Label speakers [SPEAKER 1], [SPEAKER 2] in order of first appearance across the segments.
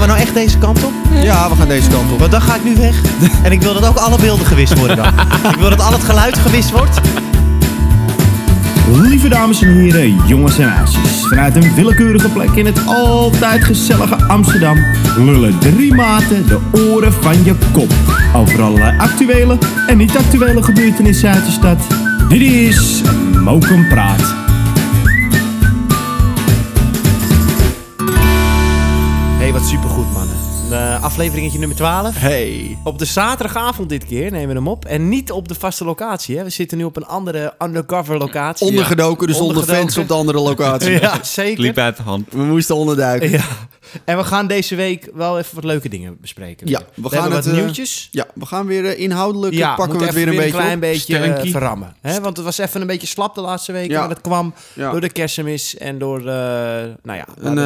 [SPEAKER 1] we nou echt deze kant op?
[SPEAKER 2] Ja, we gaan deze kant op.
[SPEAKER 1] Want dan ga ik nu weg. En ik wil dat ook alle beelden gewist worden dan. ik wil dat al het geluid gewist wordt.
[SPEAKER 3] Lieve dames en heren, jongens en meisjes. Vanuit een willekeurige plek in het altijd gezellige Amsterdam lullen drie maten de oren van je kop. Over allerlei actuele en niet-actuele gebeurtenissen uit de stad. Dit is Mokum Praat.
[SPEAKER 1] hey, wat supergoed mannen. Eh, afleveringetje nummer 12.
[SPEAKER 2] Hey.
[SPEAKER 1] Op de zaterdagavond dit keer nemen we hem op. En niet op de vaste locatie. Hè. We zitten nu op een andere undercover locatie.
[SPEAKER 2] Ondergedoken, dus onder
[SPEAKER 1] Ondergedoken.
[SPEAKER 2] fans op de andere locatie.
[SPEAKER 1] Ja, zeker.
[SPEAKER 4] Liep uit de hand.
[SPEAKER 2] We moesten onderduiken.
[SPEAKER 1] Ja. En we gaan deze week wel even wat leuke dingen bespreken.
[SPEAKER 2] Ja,
[SPEAKER 1] weer.
[SPEAKER 2] we
[SPEAKER 1] we,
[SPEAKER 2] gaan
[SPEAKER 1] hebben
[SPEAKER 2] het,
[SPEAKER 1] wat
[SPEAKER 2] eh,
[SPEAKER 1] nieuwtjes.
[SPEAKER 2] Ja, we gaan weer eh, inhoudelijk, eh,
[SPEAKER 1] Ja,
[SPEAKER 2] pakken we
[SPEAKER 1] moeten
[SPEAKER 2] het weer een
[SPEAKER 1] even
[SPEAKER 2] beetje
[SPEAKER 1] klein
[SPEAKER 2] op.
[SPEAKER 1] beetje eh,
[SPEAKER 4] Stellinkie.
[SPEAKER 1] verrammen. Hè? Want het was even een beetje slap de laatste weken.
[SPEAKER 2] Ja.
[SPEAKER 1] Maar dat kwam
[SPEAKER 2] Ja.
[SPEAKER 1] door de kerstmis en door, eh nou ja,
[SPEAKER 2] Een
[SPEAKER 1] met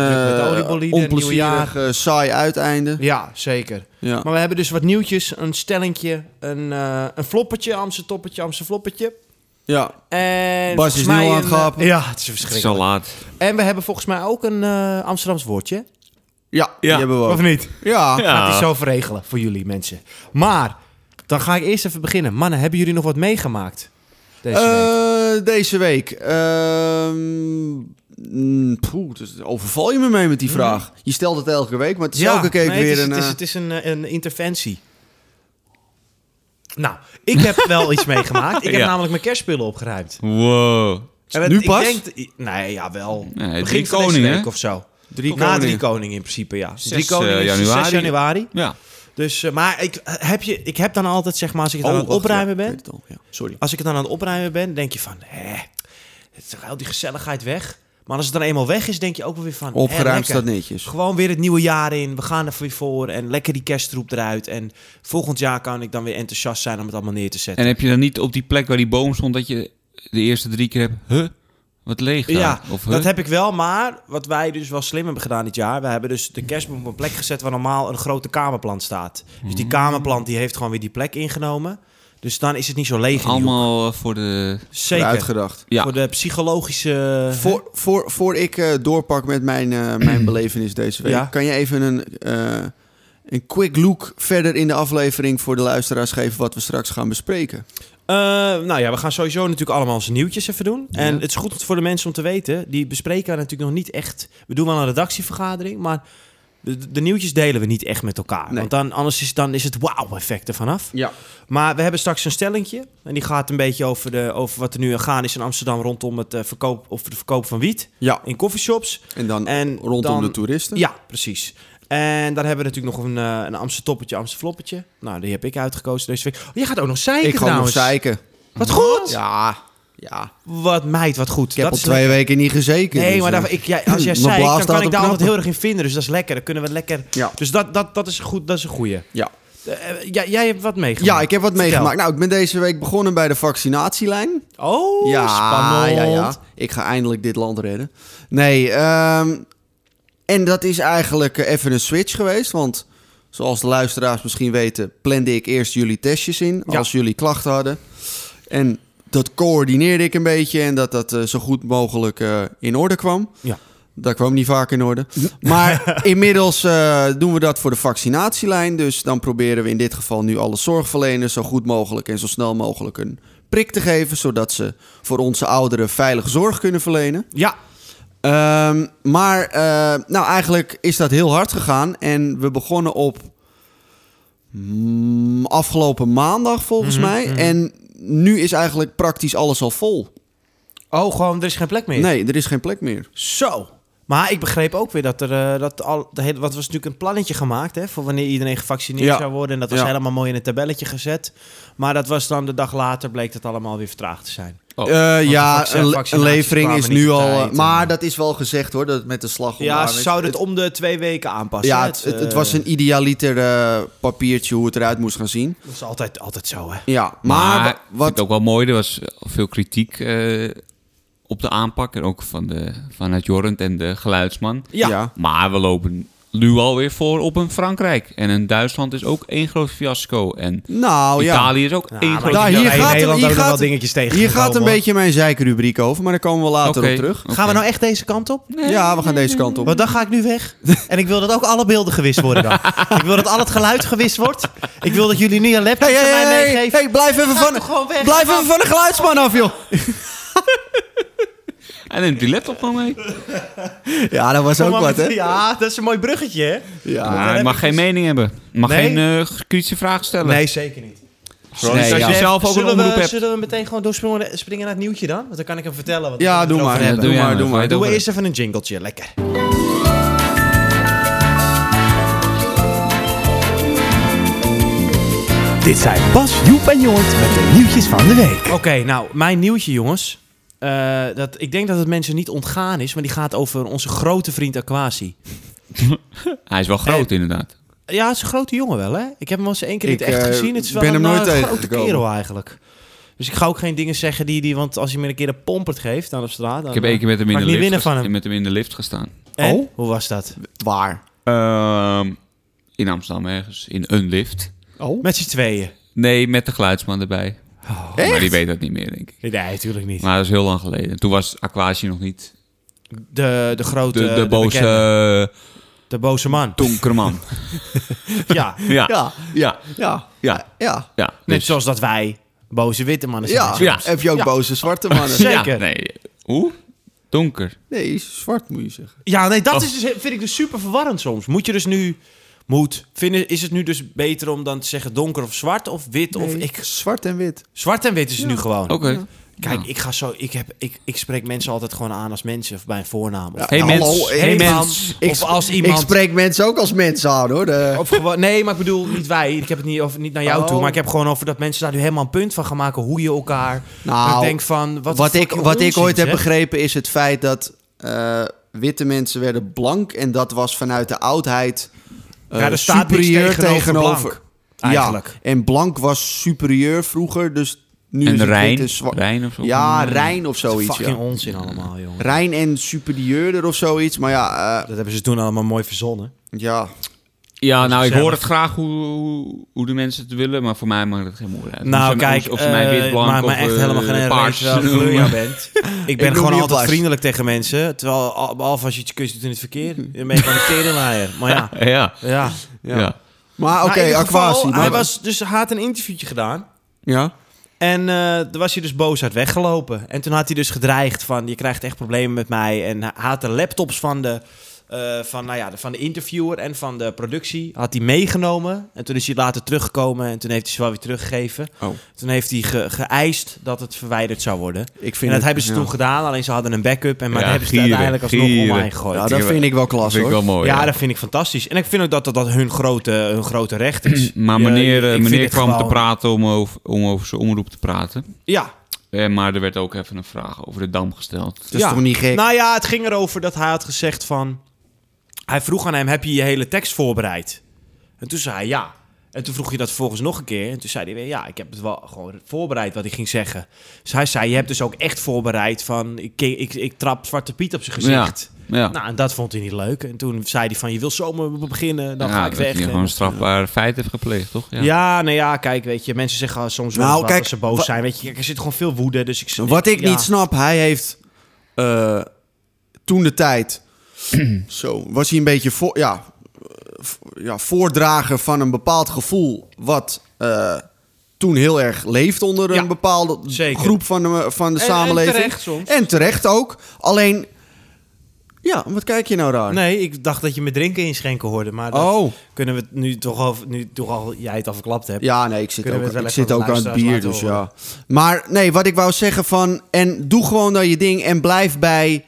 [SPEAKER 2] eh,
[SPEAKER 1] oliebolide, het nieuwe jaar.
[SPEAKER 2] onplezierig, eh, saai uiteinde.
[SPEAKER 1] Ja, zeker.
[SPEAKER 2] Ja.
[SPEAKER 1] Maar we hebben dus wat nieuwtjes. Een stellingje, een, eh een floppertje, Amsterdam toppetje, Amsterdam floppertje.
[SPEAKER 2] ja.
[SPEAKER 1] En
[SPEAKER 2] Bas is
[SPEAKER 1] volgens
[SPEAKER 2] nu
[SPEAKER 1] mij
[SPEAKER 2] al aan
[SPEAKER 1] een,
[SPEAKER 2] het gapen.
[SPEAKER 1] eh, Ja, het is
[SPEAKER 4] Het is al
[SPEAKER 1] verschrikkelijk.
[SPEAKER 4] laat.
[SPEAKER 1] En we hebben volgens mij ook een eh Amsterdams woordje.
[SPEAKER 2] Ja, die
[SPEAKER 4] Ja.
[SPEAKER 2] hebben we ook.
[SPEAKER 1] Of niet?
[SPEAKER 2] Ja.
[SPEAKER 4] Ja.
[SPEAKER 1] Gaat die zo verregelen voor jullie mensen. Maar, dan ga ik eerst even beginnen. Mannen, hebben jullie nog wat meegemaakt? Deze week?
[SPEAKER 2] Eh, Deze week. Ehm, mm, poeh, dus overval je me mee met die vraag. Je stelt het elke week, maar het is elke keer
[SPEAKER 1] Hmm. nee,
[SPEAKER 2] weer
[SPEAKER 1] het is,
[SPEAKER 2] een...
[SPEAKER 1] Het is,
[SPEAKER 2] eh,
[SPEAKER 1] het is een, eh, een interventie. Nou, ik heb wel iets meegemaakt. Ik heb
[SPEAKER 4] Ja.
[SPEAKER 1] namelijk mijn kerstspullen opgeruimd.
[SPEAKER 4] Wow.
[SPEAKER 1] En het-
[SPEAKER 2] nu
[SPEAKER 1] ik
[SPEAKER 2] pas?
[SPEAKER 1] denk- nee, ja, wel.
[SPEAKER 4] Nee,
[SPEAKER 1] Begin
[SPEAKER 4] drie
[SPEAKER 1] van deze
[SPEAKER 4] koningen,
[SPEAKER 1] week
[SPEAKER 4] hè?
[SPEAKER 1] of zo.
[SPEAKER 2] Drie
[SPEAKER 1] Na
[SPEAKER 2] koningen.
[SPEAKER 1] drie koningen in principe, ja.
[SPEAKER 4] Zes,
[SPEAKER 1] drie koningen
[SPEAKER 4] eh,
[SPEAKER 1] is dus 6
[SPEAKER 4] januari.
[SPEAKER 1] januari.
[SPEAKER 4] Ja.
[SPEAKER 1] Dus, eh, maar ik, heb je, ik heb dan altijd, zeg maar, als ik het
[SPEAKER 2] Oh,
[SPEAKER 1] aan het
[SPEAKER 2] wacht,
[SPEAKER 1] opruimen
[SPEAKER 2] ja,
[SPEAKER 1] ben...
[SPEAKER 2] ik weet het al, ja. Sorry.
[SPEAKER 1] Als ik het dan aan het opruimen ben, denk je van... Hè, het is toch al die gezelligheid weg? Maar als het dan eenmaal weg is, denk je ook wel weer van... hè,
[SPEAKER 2] Opgeruimd
[SPEAKER 1] lekker. Dus
[SPEAKER 2] staat netjes.
[SPEAKER 1] Gewoon weer het nieuwe jaar in. We gaan er weer voor. En lekker die kerstroep eruit. En volgend jaar kan ik dan weer enthousiast zijn om het allemaal neer te zetten.
[SPEAKER 4] En heb je dan niet op die plek waar die boom stond dat je de eerste drie keer hebt, huh, wat leeg daar?
[SPEAKER 1] ja,
[SPEAKER 4] of, huh?
[SPEAKER 1] dat heb ik wel. Maar wat wij dus wel slim hebben gedaan dit jaar... We hebben dus de kerstboom op een plek gezet waar normaal een grote kamerplant staat. Dus
[SPEAKER 4] Mm.
[SPEAKER 1] die kamerplant die heeft gewoon weer die plek ingenomen. Dus dan is het niet zo leeg. in die hoek.
[SPEAKER 4] Allemaal eh, voor de...
[SPEAKER 1] Zeker.
[SPEAKER 2] Uitgedacht.
[SPEAKER 4] Ja.
[SPEAKER 1] Voor de psychologische...
[SPEAKER 2] Voor, voor, voor ik eh, doorpak met mijn, eh, mijn belevenis deze week,
[SPEAKER 1] Ja.
[SPEAKER 2] kan je even een, eh, een quick look verder in de aflevering voor de luisteraars geven wat we straks gaan bespreken?
[SPEAKER 1] Eh, nou ja, we gaan sowieso natuurlijk allemaal onze nieuwtjes even doen. En het is goed voor de mensen om te weten. Die bespreken we natuurlijk nog niet echt. We doen wel een redactievergadering, maar de, de nieuwtjes delen we niet echt met elkaar.
[SPEAKER 2] Nee.
[SPEAKER 1] Want dan, anders is, dan is het wauw-effect er vanaf.
[SPEAKER 2] Ja.
[SPEAKER 1] Maar we hebben straks een stellingje. En die gaat een beetje over, de, over wat er nu aan gaan is in Amsterdam rondom het eh, verkoop, of de verkoop van wiet
[SPEAKER 2] Ja,
[SPEAKER 1] in coffeeshops.
[SPEAKER 2] en dan
[SPEAKER 1] En
[SPEAKER 2] rondom
[SPEAKER 1] dan-
[SPEAKER 2] de toeristen.
[SPEAKER 1] Ja, precies. En dan hebben we natuurlijk nog een, eh, een Amstertoppetje, Amsterfloppetje. Nou, die heb ik uitgekozen deze week. Oh, jij gaat ook nog zeiken
[SPEAKER 2] ik ga nog
[SPEAKER 1] trouwens.
[SPEAKER 2] zeiken.
[SPEAKER 1] Wat goed!
[SPEAKER 2] Ja, ja.
[SPEAKER 1] Wat meid, wat goed.
[SPEAKER 2] Ik heb
[SPEAKER 1] dat
[SPEAKER 2] al
[SPEAKER 1] is
[SPEAKER 2] twee weken niet gezeken.
[SPEAKER 1] Nee,
[SPEAKER 2] dus,
[SPEAKER 1] maar
[SPEAKER 2] eh,
[SPEAKER 1] daar, ik, ja, als jij
[SPEAKER 2] Mijn
[SPEAKER 1] zei,
[SPEAKER 2] blaas
[SPEAKER 1] dan
[SPEAKER 2] staat
[SPEAKER 1] kan ik
[SPEAKER 2] op
[SPEAKER 1] daar altijd
[SPEAKER 2] knappen.
[SPEAKER 1] heel erg in vinden. Dus dat is lekker. Dan kunnen we lekker...
[SPEAKER 2] Ja.
[SPEAKER 1] Dus dat, dat, dat, is goed, dat is een goeie.
[SPEAKER 2] Ja.
[SPEAKER 1] Eh, eh, jij, jij hebt wat meegemaakt.
[SPEAKER 2] ja, ik heb wat
[SPEAKER 1] Vertel.
[SPEAKER 2] meegemaakt. Nou, ik ben deze week begonnen bij de vaccinatielijn.
[SPEAKER 1] Oh,
[SPEAKER 2] ja,
[SPEAKER 1] spannend.
[SPEAKER 2] Ja, ja. Ik ga eindelijk dit land redden. Nee, ehm, en dat is eigenlijk eh, even een switch geweest. Want zoals de luisteraars misschien weten, plande ik eerst jullie testjes in.
[SPEAKER 1] Ja.
[SPEAKER 2] Als jullie klachten hadden. En dat coördineerde ik een beetje. En dat dat eh, zo goed mogelijk eh, in orde kwam.
[SPEAKER 1] Ja.
[SPEAKER 2] Dat kwam niet vaak in orde. Maar inmiddels eh, doen we dat voor de vaccinatielijn. Dus dan proberen we in dit geval nu alle zorgverleners zo goed mogelijk en zo snel mogelijk een prik te geven. Zodat ze voor onze ouderen veilige zorg kunnen verlenen.
[SPEAKER 1] Ja,
[SPEAKER 2] Ehm, maar eh, nou, eigenlijk is dat heel hard gegaan. En we begonnen op mm, afgelopen maandag volgens mij. En nu is eigenlijk praktisch alles al vol.
[SPEAKER 1] oh, gewoon, er is geen plek meer.
[SPEAKER 2] Nee, er is geen plek meer.
[SPEAKER 1] Zo. Maar ik begreep ook weer dat er... eh, dat al, de hele, wat was natuurlijk een plannetje gemaakt, hè? Voor wanneer iedereen gevaccineerd
[SPEAKER 2] Ja.
[SPEAKER 1] zou worden. En dat was
[SPEAKER 2] Ja.
[SPEAKER 1] helemaal mooi in een tabelletje gezet. Maar dat was dan de dag later, bleek dat allemaal weer vertraagd te zijn.
[SPEAKER 4] Oh,
[SPEAKER 2] Eh, ja,
[SPEAKER 1] vaccin-
[SPEAKER 2] een, le- een
[SPEAKER 1] vaccinaties
[SPEAKER 2] levering
[SPEAKER 1] kwamen
[SPEAKER 2] is
[SPEAKER 1] niet
[SPEAKER 2] nu
[SPEAKER 1] op
[SPEAKER 2] al. eh,
[SPEAKER 1] tijd en-
[SPEAKER 2] maar dat is wel gezegd hoor, dat het met de slag om de
[SPEAKER 1] Ja,
[SPEAKER 2] arm
[SPEAKER 1] ze
[SPEAKER 2] is.
[SPEAKER 1] zouden het om de twee weken aanpassen.
[SPEAKER 2] ja,
[SPEAKER 1] hè?
[SPEAKER 2] het, het, het
[SPEAKER 1] eh,
[SPEAKER 2] was een idealiter eh, papiertje hoe het eruit moest gaan zien.
[SPEAKER 1] Dat is altijd, altijd zo, hè?
[SPEAKER 2] Ja, maar,
[SPEAKER 4] maar
[SPEAKER 2] wa-
[SPEAKER 4] ik vind
[SPEAKER 2] wat.
[SPEAKER 4] het ook wel mooi, er was veel kritiek eh, op de aanpak. En ook van de, vanuit Jorrent en de geluidsman.
[SPEAKER 1] Ja.
[SPEAKER 2] Ja.
[SPEAKER 4] Maar we lopen nu alweer voor op een Frankrijk. En een Duitsland is ook één groot fiasco. En
[SPEAKER 1] Oh,
[SPEAKER 2] Nou ja.
[SPEAKER 4] Italië is ook één groot
[SPEAKER 2] daar-
[SPEAKER 4] fiasco.
[SPEAKER 2] hier
[SPEAKER 1] hier
[SPEAKER 2] gaat
[SPEAKER 1] gaat
[SPEAKER 2] hem-
[SPEAKER 1] Nederland
[SPEAKER 2] hier
[SPEAKER 1] ook nog
[SPEAKER 2] gaat
[SPEAKER 1] wel
[SPEAKER 2] hem-
[SPEAKER 1] dingetjes tegen.
[SPEAKER 2] Hier gaat een beetje mijn zeikrubriek over, maar daar komen we later
[SPEAKER 4] Oké.
[SPEAKER 2] op terug.
[SPEAKER 1] Gaan we nou echt deze kant op?
[SPEAKER 2] Ja, we gaan deze kant op.
[SPEAKER 1] Want dan ga ik nu weg. En ik wil dat ook alle beelden gewist worden dan. ik wil dat al het geluid gewist wordt. Ik wil dat jullie niet een laptop
[SPEAKER 2] Hey, hey,
[SPEAKER 1] aan mij
[SPEAKER 2] hey, hey,
[SPEAKER 1] meegeven.
[SPEAKER 2] hey, blijf even
[SPEAKER 1] Ga
[SPEAKER 2] van,
[SPEAKER 1] toch gewoon weg,
[SPEAKER 2] blijf
[SPEAKER 1] man.
[SPEAKER 2] even van de geluidsman af, joh.
[SPEAKER 4] En neemt die laptop gewoon mee.
[SPEAKER 2] Ja, dat was
[SPEAKER 1] Kom
[SPEAKER 2] ook
[SPEAKER 1] maar
[SPEAKER 2] wat,
[SPEAKER 1] met-
[SPEAKER 2] hè?
[SPEAKER 1] Ja, dat is een mooi bruggetje, hè?
[SPEAKER 2] Ja.
[SPEAKER 4] Maar
[SPEAKER 1] heb
[SPEAKER 4] het mag
[SPEAKER 1] ik
[SPEAKER 4] geen
[SPEAKER 1] dus-
[SPEAKER 4] mening hebben. Het mag
[SPEAKER 1] Nee?
[SPEAKER 4] geen eh, kritische vraag stellen.
[SPEAKER 1] Nee, zeker niet.
[SPEAKER 2] Dus
[SPEAKER 4] Nee, ja.
[SPEAKER 2] als
[SPEAKER 4] als je
[SPEAKER 2] je-
[SPEAKER 4] zelf ook een
[SPEAKER 1] zullen
[SPEAKER 4] omroep
[SPEAKER 1] we,
[SPEAKER 4] hebt.
[SPEAKER 1] Zullen we meteen gewoon doorspringen springen naar het nieuwtje dan? Want dan kan ik hem vertellen. Wat
[SPEAKER 2] Ja,
[SPEAKER 1] wat we
[SPEAKER 2] doe
[SPEAKER 1] erover
[SPEAKER 2] maar.
[SPEAKER 1] hebben.
[SPEAKER 4] Ja, doe
[SPEAKER 2] Doe
[SPEAKER 4] jij
[SPEAKER 2] maar,
[SPEAKER 4] maar.
[SPEAKER 2] doe maar.
[SPEAKER 1] Doen we
[SPEAKER 4] Over.
[SPEAKER 1] eerst even een jingletje, lekker.
[SPEAKER 3] Dit zijn Bas, Joep en Joort met de nieuwtjes van de week.
[SPEAKER 1] Oké, nou, mijn nieuwtje, jongens. Eh, dat, ik denk dat het mensen niet ontgaan is, maar die gaat over onze grote vriend Aquasi.
[SPEAKER 4] Hij is wel groot, inderdaad.
[SPEAKER 1] Ja, het is een grote jongen wel, hè? Ik heb hem wel eens één keer in het
[SPEAKER 2] Ik,
[SPEAKER 1] echt
[SPEAKER 2] eh,
[SPEAKER 1] gezien. Het is wel
[SPEAKER 2] ben hem
[SPEAKER 1] een,
[SPEAKER 2] nooit
[SPEAKER 1] eh, grote
[SPEAKER 2] tegengekomen.
[SPEAKER 1] kerel eigenlijk. Dus ik ga ook geen dingen zeggen die... die want als hij me een keer een pompert geeft aan op straat... Dan,
[SPEAKER 4] Ik heb één keer met hem in
[SPEAKER 1] Mag
[SPEAKER 4] de
[SPEAKER 1] ik niet winnen
[SPEAKER 4] lift, gesta-
[SPEAKER 1] van hem?
[SPEAKER 4] met hem in de lift gestaan.
[SPEAKER 1] En?
[SPEAKER 2] Oh?
[SPEAKER 1] Hoe was dat?
[SPEAKER 2] Waar?
[SPEAKER 4] Ehm, in Amsterdam ergens. In een lift.
[SPEAKER 2] Oh.
[SPEAKER 1] Met z'n tweeën?
[SPEAKER 4] Nee, met de geluidsman erbij. Maar die weet dat niet meer, denk ik.
[SPEAKER 1] Nee, natuurlijk niet.
[SPEAKER 4] Maar dat is heel lang geleden. Toen was Aquasi nog niet
[SPEAKER 1] De, de grote...
[SPEAKER 4] de, de, boze
[SPEAKER 1] bekende,
[SPEAKER 4] eh,
[SPEAKER 1] de boze man.
[SPEAKER 4] donkere man.
[SPEAKER 1] ja.
[SPEAKER 4] ja.
[SPEAKER 2] Ja,
[SPEAKER 4] Ja.
[SPEAKER 2] ja,
[SPEAKER 4] Ja.
[SPEAKER 2] ja.
[SPEAKER 4] Ja.
[SPEAKER 1] Net
[SPEAKER 4] Dus-
[SPEAKER 1] zoals dat wij boze witte mannen zijn.
[SPEAKER 2] Ja,
[SPEAKER 4] Ja.
[SPEAKER 2] heb je ook
[SPEAKER 1] Ja.
[SPEAKER 2] boze zwarte mannen?
[SPEAKER 1] Zeker.
[SPEAKER 4] Ja, nee. Hoe? Donker.
[SPEAKER 2] Nee, zwart moet je zeggen.
[SPEAKER 1] Ja, nee,
[SPEAKER 4] Oh.
[SPEAKER 1] dat is dus, vind ik dus super verwarrend soms. Moet je dus nu... Moet. Vinden, is het nu dus beter om dan te zeggen donker of zwart of wit of
[SPEAKER 2] Nee,
[SPEAKER 1] ik...
[SPEAKER 2] Zwart en wit.
[SPEAKER 1] Zwart en wit is het nu gewoon.
[SPEAKER 4] Oké.
[SPEAKER 1] Kijk,
[SPEAKER 4] Oh. Ja.
[SPEAKER 1] ik ga zo. Ik, heb, ik, ik spreek mensen altijd gewoon aan als mensen of bij een voornaam. Of,
[SPEAKER 4] Hey,
[SPEAKER 2] Ja,
[SPEAKER 4] mens.
[SPEAKER 2] hallo,
[SPEAKER 4] Hey,
[SPEAKER 2] ik-
[SPEAKER 4] mens.
[SPEAKER 1] of als iemand.
[SPEAKER 2] Ik spreek mensen ook als mensen aan, hoor. De-
[SPEAKER 1] of gewoon, nee, maar ik bedoel niet wij. Ik heb het niet, over, niet naar jou
[SPEAKER 2] Oh.
[SPEAKER 1] toe. Maar ik heb gewoon over dat mensen daar nu helemaal een punt van gaan maken. Hoe je elkaar.
[SPEAKER 2] Nou,
[SPEAKER 1] ik denk van. Wat,
[SPEAKER 2] Wat, ik,
[SPEAKER 1] fucking
[SPEAKER 2] wat ik
[SPEAKER 1] onzin,
[SPEAKER 2] ooit heb
[SPEAKER 1] zeg.
[SPEAKER 2] begrepen is het feit dat eh, witte mensen werden blank. En dat was vanuit de oudheid eh,
[SPEAKER 1] Ja, er staat niks
[SPEAKER 2] superieur
[SPEAKER 1] tegenover blank,
[SPEAKER 2] Ja,
[SPEAKER 1] eigenlijk.
[SPEAKER 2] en blank was superieur vroeger. Dus nu is
[SPEAKER 4] En
[SPEAKER 2] het wit
[SPEAKER 4] Rijn.
[SPEAKER 2] en zwart.
[SPEAKER 4] Rijn of zo. Hmm.
[SPEAKER 2] Ja, Rijn of zoiets.
[SPEAKER 1] Fucking
[SPEAKER 2] Ja.
[SPEAKER 1] onzin allemaal, jongen.
[SPEAKER 2] Rijn en superieurder of zoiets. Maar ja, eh,
[SPEAKER 1] Dat hebben ze toen allemaal mooi verzonnen.
[SPEAKER 2] ja.
[SPEAKER 4] Ja, nou, ik
[SPEAKER 1] Zelf.
[SPEAKER 4] hoor het graag hoe, hoe, hoe de mensen het willen, maar voor mij maakt het geen moeite uit.
[SPEAKER 1] Nou,
[SPEAKER 4] Of ze-
[SPEAKER 1] kijk,
[SPEAKER 4] of ze mij wit, blank
[SPEAKER 1] maar,
[SPEAKER 4] of
[SPEAKER 1] maar echt
[SPEAKER 4] eh,
[SPEAKER 1] helemaal geen ene
[SPEAKER 4] paars
[SPEAKER 1] reet welke kleur
[SPEAKER 4] noemen.
[SPEAKER 1] jij bent. Ik ben
[SPEAKER 2] noem
[SPEAKER 1] gewoon
[SPEAKER 2] je
[SPEAKER 1] altijd
[SPEAKER 2] paars.
[SPEAKER 1] vriendelijk tegen mensen. Terwijl, al- behalve als je iets kust doet in het verkeer, dan ben je gewoon een kerelaaier. Maar ja,
[SPEAKER 4] Ja,
[SPEAKER 1] ja.
[SPEAKER 4] ja.
[SPEAKER 2] Maar
[SPEAKER 1] Maar
[SPEAKER 2] oké,
[SPEAKER 1] Nou, in ieder geval,
[SPEAKER 2] aquatie.
[SPEAKER 1] Hij
[SPEAKER 2] maar-
[SPEAKER 1] was, dus hij had een interviewtje gedaan.
[SPEAKER 2] Ja.
[SPEAKER 1] En eh daar was hij dus boos uit weggelopen. En toen had hij dus gedreigd van, je krijgt echt problemen met mij. En hij had de laptops van de, eh, van, nou ja, de- van de interviewer en van de productie had hij meegenomen. En toen is hij later teruggekomen en toen heeft hij ze wel weer teruggegeven.
[SPEAKER 2] Oh.
[SPEAKER 1] Toen heeft hij ge- geëist dat het verwijderd zou worden.
[SPEAKER 2] Ik vind
[SPEAKER 1] en dat
[SPEAKER 2] het-
[SPEAKER 1] hebben ze
[SPEAKER 2] ja.
[SPEAKER 1] toen gedaan, alleen ze hadden een backup. En maar
[SPEAKER 4] Ja,
[SPEAKER 1] dat hebben ze
[SPEAKER 4] gieren,
[SPEAKER 1] uiteindelijk alsnog
[SPEAKER 4] gieren.
[SPEAKER 1] online gegooid.
[SPEAKER 2] Ja, dat vind ik wel klas,
[SPEAKER 4] vind
[SPEAKER 2] hoor.
[SPEAKER 4] ik wel mooi.
[SPEAKER 1] ja,
[SPEAKER 4] ja.
[SPEAKER 1] dat vind ik fantastisch. En ik vind ook dat dat, dat hun, grote, hun grote recht is.
[SPEAKER 4] Maar
[SPEAKER 1] Ja,
[SPEAKER 4] meneer,
[SPEAKER 1] ik
[SPEAKER 4] eh,
[SPEAKER 1] vind
[SPEAKER 4] meneer
[SPEAKER 1] het
[SPEAKER 4] kwam te
[SPEAKER 1] gewoon-
[SPEAKER 4] praten om over, om over zijn omroep te praten.
[SPEAKER 1] Ja,
[SPEAKER 4] Eh, maar er werd ook even een vraag over de dam gesteld.
[SPEAKER 2] Dat is toch niet gek?
[SPEAKER 1] Nou ja, het ging erover dat hij had gezegd van... Hij vroeg aan hem, heb je je hele tekst voorbereid? En toen zei hij ja. En toen vroeg je dat vervolgens nog een keer. En toen zei hij weer, ja, ik heb het wel gewoon voorbereid wat ik ging zeggen. Dus hij zei, je hebt dus ook echt voorbereid van... Ik, ik, ik, ik trap Zwarte Piet op zijn gezicht.
[SPEAKER 4] Ja.
[SPEAKER 1] Nou, en dat vond hij niet leuk. En toen zei hij van, je wil zomaar beginnen, dan
[SPEAKER 4] ja,
[SPEAKER 1] ga ik
[SPEAKER 4] dat
[SPEAKER 1] weg.
[SPEAKER 4] je
[SPEAKER 1] En-
[SPEAKER 4] gewoon een strafbaar feit heeft gepleegd, toch?
[SPEAKER 1] ja. nou ja, kijk, weet je, mensen zeggen soms wel
[SPEAKER 2] Nou,
[SPEAKER 1] eens wat
[SPEAKER 2] kijk,
[SPEAKER 1] als ze boos
[SPEAKER 2] wa-
[SPEAKER 1] zijn. Weet je, kijk, er zit gewoon veel woede, dus ik...
[SPEAKER 2] Wat ik
[SPEAKER 1] ja.
[SPEAKER 2] niet snap, hij heeft eh, toen de tijd. zo, was hij een beetje voor, ja, eh, vo- ja, voordrager van een bepaald gevoel. wat eh, toen heel erg leeft onder
[SPEAKER 1] Ja,
[SPEAKER 2] een bepaalde
[SPEAKER 1] zeker.
[SPEAKER 2] groep van de, eh, van de
[SPEAKER 1] En- en
[SPEAKER 2] samenleving.
[SPEAKER 1] terecht soms.
[SPEAKER 2] En terecht ook. Alleen. Ja, wat kijk je nou raar?
[SPEAKER 1] Nee, ik dacht dat je me drinken inschenken hoorde, maar dat
[SPEAKER 2] Oh.
[SPEAKER 1] kunnen we het nu toch al, nu toch al jij het al verklapt hebt.
[SPEAKER 2] Ja, nee, ik zit
[SPEAKER 1] Kunnen we
[SPEAKER 2] ook,
[SPEAKER 1] het wel
[SPEAKER 2] ik
[SPEAKER 1] even
[SPEAKER 2] zit
[SPEAKER 1] aan de
[SPEAKER 2] ook aan het bier,
[SPEAKER 1] luisteraars
[SPEAKER 2] dus
[SPEAKER 1] laten
[SPEAKER 2] ja. Maar nee, wat ik wou zeggen van... En doe gewoon dan je ding en blijf bij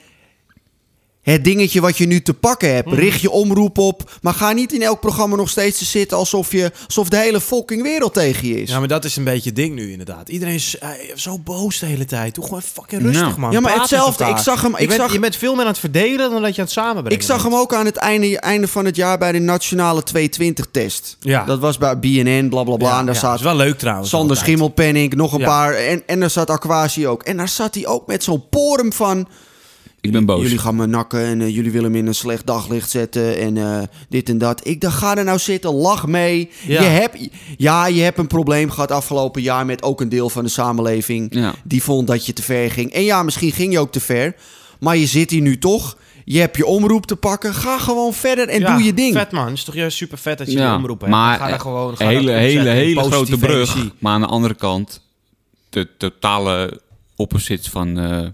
[SPEAKER 2] het dingetje wat je nu te pakken hebt.
[SPEAKER 1] Hmm.
[SPEAKER 2] Richt je omroep op, maar ga niet in elk programma nog steeds te zitten... alsof, je, alsof de hele fucking wereld tegen je is.
[SPEAKER 1] Ja, maar dat is een beetje het ding nu inderdaad. Iedereen is eh, zo boos de hele tijd. Doe gewoon fucking rustig,
[SPEAKER 4] Nou.
[SPEAKER 1] man.
[SPEAKER 2] Ja, maar
[SPEAKER 1] Praat met
[SPEAKER 2] hetzelfde.
[SPEAKER 1] elkaar.
[SPEAKER 2] Ik zag hem-
[SPEAKER 1] Je,
[SPEAKER 2] ik
[SPEAKER 1] bent,
[SPEAKER 2] zag-
[SPEAKER 1] je bent veel meer aan het verdelen dan dat je aan het samenbrengen
[SPEAKER 2] ik zag hem ook aan het einde, einde van het jaar bij de nationale 220-test.
[SPEAKER 1] Ja.
[SPEAKER 2] Dat was bij BNN, blablabla.
[SPEAKER 1] bent.
[SPEAKER 2] en daar
[SPEAKER 1] ja,
[SPEAKER 2] zaten
[SPEAKER 1] is wel leuk trouwens.
[SPEAKER 2] Sander
[SPEAKER 1] altijd.
[SPEAKER 2] Schimmelpenning, nog een
[SPEAKER 1] Ja.
[SPEAKER 2] paar. En, en daar zat Aquasi ook. En daar zat hij ook met zo'n porum van...
[SPEAKER 4] Ik Ik ben boos.
[SPEAKER 2] Jullie gaan me nakken en eh, jullie willen me in een slecht daglicht zetten en eh, dit en dat. Ik dacht, ga er nou zitten, lach mee.
[SPEAKER 1] Ja.
[SPEAKER 2] Je hebt, ja, je hebt een probleem gehad afgelopen jaar met ook een deel van de samenleving
[SPEAKER 4] Ja.
[SPEAKER 2] die vond dat je te ver ging. En ja, misschien ging je ook te ver, maar je zit hier nu toch. Je hebt je omroep te pakken. Ga gewoon verder en
[SPEAKER 1] Ja,
[SPEAKER 2] doe je ding. eh,
[SPEAKER 1] Vet man, is toch juist super vet dat je
[SPEAKER 4] Ja,
[SPEAKER 1] die omroep hebt.
[SPEAKER 4] maar
[SPEAKER 1] ga daar gewoon, ga
[SPEAKER 4] Een hele,
[SPEAKER 1] daar
[SPEAKER 4] hele,
[SPEAKER 1] opzetten,
[SPEAKER 4] hele
[SPEAKER 1] positieve
[SPEAKER 4] grote brug.
[SPEAKER 1] energie.
[SPEAKER 4] Maar aan de andere kant, de totale opposite van eh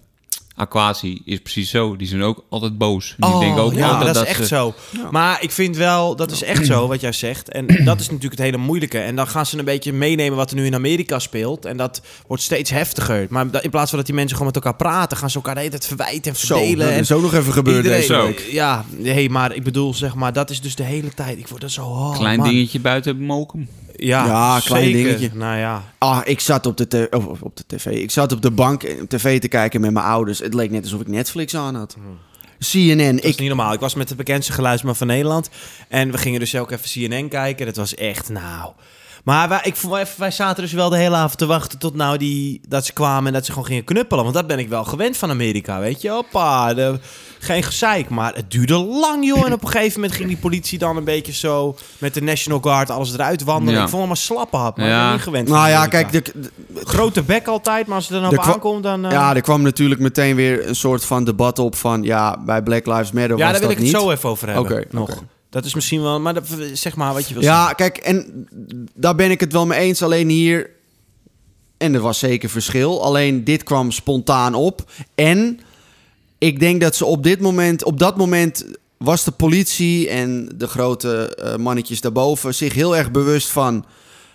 [SPEAKER 4] Aquasi is precies zo. Die zijn ook altijd boos. Die
[SPEAKER 1] Oh,
[SPEAKER 4] denken ook
[SPEAKER 1] ja,
[SPEAKER 4] altijd
[SPEAKER 1] dat, is echt
[SPEAKER 2] eh,
[SPEAKER 4] ze-
[SPEAKER 1] zo. Maar ik vind wel, dat is echt zo wat jij zegt. En dat is natuurlijk het hele moeilijke. En dan gaan ze een beetje meenemen wat er nu in Amerika speelt. En dat wordt steeds heftiger. Maar da- in plaats van dat die mensen gewoon met elkaar praten, gaan ze elkaar de hele tijd verwijten en
[SPEAKER 2] Zo,
[SPEAKER 1] verdelen.
[SPEAKER 2] dat
[SPEAKER 1] en
[SPEAKER 2] is ook nog even gebeurd
[SPEAKER 1] iedereen-
[SPEAKER 2] deze
[SPEAKER 4] Zo.
[SPEAKER 2] week.
[SPEAKER 1] Ja, hey, maar ik bedoel, zeg maar, dat is dus de hele tijd. Ik word er zo oh,
[SPEAKER 4] Klein
[SPEAKER 1] man.
[SPEAKER 4] dingetje buiten mokum.
[SPEAKER 1] Ja,
[SPEAKER 2] Ja, klein
[SPEAKER 1] zeker.
[SPEAKER 2] dingetje.
[SPEAKER 1] Nou ja.
[SPEAKER 2] Ah, ik zat op de, te- oh, op de tv. Ik zat op de bank eh, tv te kijken met mijn ouders. Het leek net alsof ik Netflix aan had. CNN.
[SPEAKER 1] Dat is
[SPEAKER 2] Ik,
[SPEAKER 1] niet normaal. Ik was met de bekendste geluidsman van Nederland. En we gingen dus ook even CNN kijken. Dat was echt, nou... Maar wij, ik, vond wel even- wij zaten dus wel de hele avond te wachten tot nou die, dat ze kwamen en dat ze gewoon gingen knuppelen. Want dat ben ik wel gewend van Amerika, weet je. Hoppa, de- geen gezeik. Maar het duurde lang, joh. En op een gegeven moment ging die politie dan een beetje zo met de National Guard alles eruit wandelen.
[SPEAKER 4] Ja.
[SPEAKER 1] Ik vond hem maar slappe hap, maar
[SPEAKER 4] Ja.
[SPEAKER 1] ik ben niet gewend van
[SPEAKER 2] nou ja,
[SPEAKER 1] Amerika.
[SPEAKER 2] kijk, de, de-
[SPEAKER 1] Grote bek altijd, maar als het er
[SPEAKER 2] De
[SPEAKER 1] dan op
[SPEAKER 2] kwa-
[SPEAKER 1] aankomt, dan... eh,
[SPEAKER 2] ja, er kwam natuurlijk meteen weer een soort van debat op van... Ja, bij Black Lives Matter
[SPEAKER 1] ja,
[SPEAKER 2] was
[SPEAKER 1] daar wil
[SPEAKER 2] dat
[SPEAKER 1] ik het
[SPEAKER 2] niet.
[SPEAKER 1] zo even over hebben.
[SPEAKER 2] Oké,
[SPEAKER 1] nog.
[SPEAKER 2] oké.
[SPEAKER 1] Dat is misschien wel... Maar dat, zeg maar wat je wil zeggen.
[SPEAKER 2] Ja, kijk, en daar ben ik het wel mee eens. Alleen hier... En er was zeker verschil. Alleen dit kwam spontaan op. En ik denk dat ze op dit moment... Op dat moment was de politie en de grote eh, mannetjes daarboven... zich heel erg bewust van...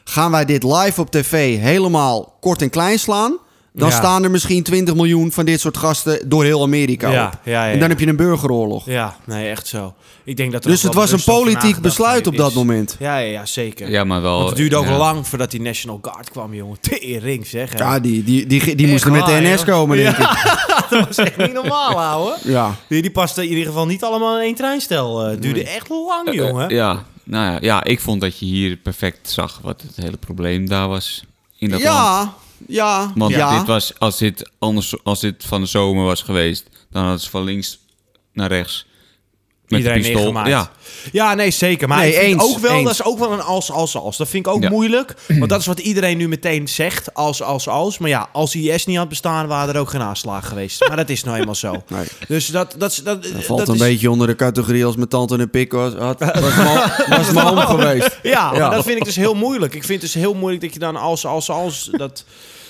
[SPEAKER 2] Gaan wij dit live op tv helemaal kort en klein slaan... Dan
[SPEAKER 1] Ja.
[SPEAKER 2] staan er misschien 20 miljoen van dit soort gasten door heel Amerika
[SPEAKER 1] Ja,
[SPEAKER 2] op.
[SPEAKER 1] ja, ja,
[SPEAKER 2] en dan
[SPEAKER 1] ja.
[SPEAKER 2] heb je een burgeroorlog.
[SPEAKER 1] Ja, nee, echt zo. Ik denk dat er
[SPEAKER 2] dus
[SPEAKER 1] ook
[SPEAKER 2] het
[SPEAKER 1] wel
[SPEAKER 2] was een
[SPEAKER 1] bewust over
[SPEAKER 2] politiek
[SPEAKER 1] nagedacht
[SPEAKER 2] besluit op
[SPEAKER 1] is.
[SPEAKER 2] dat moment.
[SPEAKER 1] Ja, ja, ja, zeker.
[SPEAKER 4] Ja, maar wel...
[SPEAKER 1] Want het duurde ook
[SPEAKER 4] ja.
[SPEAKER 1] lang voordat die National Guard kwam, jongen. Tering, zeg. hè.
[SPEAKER 2] Ja, die, die, die, die
[SPEAKER 1] Echt
[SPEAKER 2] moesten met de
[SPEAKER 1] waar,
[SPEAKER 2] NS
[SPEAKER 1] joh.
[SPEAKER 2] komen, denk ik.
[SPEAKER 1] dat was echt niet normaal, ouwe.
[SPEAKER 2] Ja.
[SPEAKER 1] Die, die paste in ieder geval niet allemaal in één treinstel. eh. Het duurde echt lang,
[SPEAKER 4] Eh,
[SPEAKER 1] jongen.
[SPEAKER 4] ja, nou ja, ja, ik vond dat je hier perfect zag wat het hele probleem daar was. In dat land.
[SPEAKER 2] Ja, ja,
[SPEAKER 4] Want
[SPEAKER 2] ja.
[SPEAKER 4] dit was, als dit, anders, als dit van de zomer was geweest, dan hadden ze van links naar rechts met een
[SPEAKER 1] Iedereen
[SPEAKER 4] pistool.
[SPEAKER 1] neergemaakt.
[SPEAKER 4] Ja,
[SPEAKER 1] Ja, nee, zeker. Maar
[SPEAKER 2] Nee,
[SPEAKER 1] ik vind
[SPEAKER 2] eens,
[SPEAKER 1] ook wel,
[SPEAKER 2] eens.
[SPEAKER 1] dat is ook wel een als, als, als. Dat vind ik ook
[SPEAKER 4] Ja.
[SPEAKER 1] moeilijk. Want dat is wat iedereen nu meteen zegt. Als, als, als. Maar ja, als IS niet had bestaan, waren er ook geen aanslagen geweest. Maar dat is nou eenmaal zo.
[SPEAKER 2] Nee.
[SPEAKER 1] Dus dat, dat, is- dat, dat,
[SPEAKER 2] Valt een
[SPEAKER 1] is-
[SPEAKER 2] beetje onder de categorie als mijn tante een pik was. Had, was mijn- was mijn oom geweest.
[SPEAKER 1] Ja,
[SPEAKER 2] Ja.
[SPEAKER 1] maar dat vind ik dus heel moeilijk. Ik vind het dus heel moeilijk dat je dan als, als, als... Dat,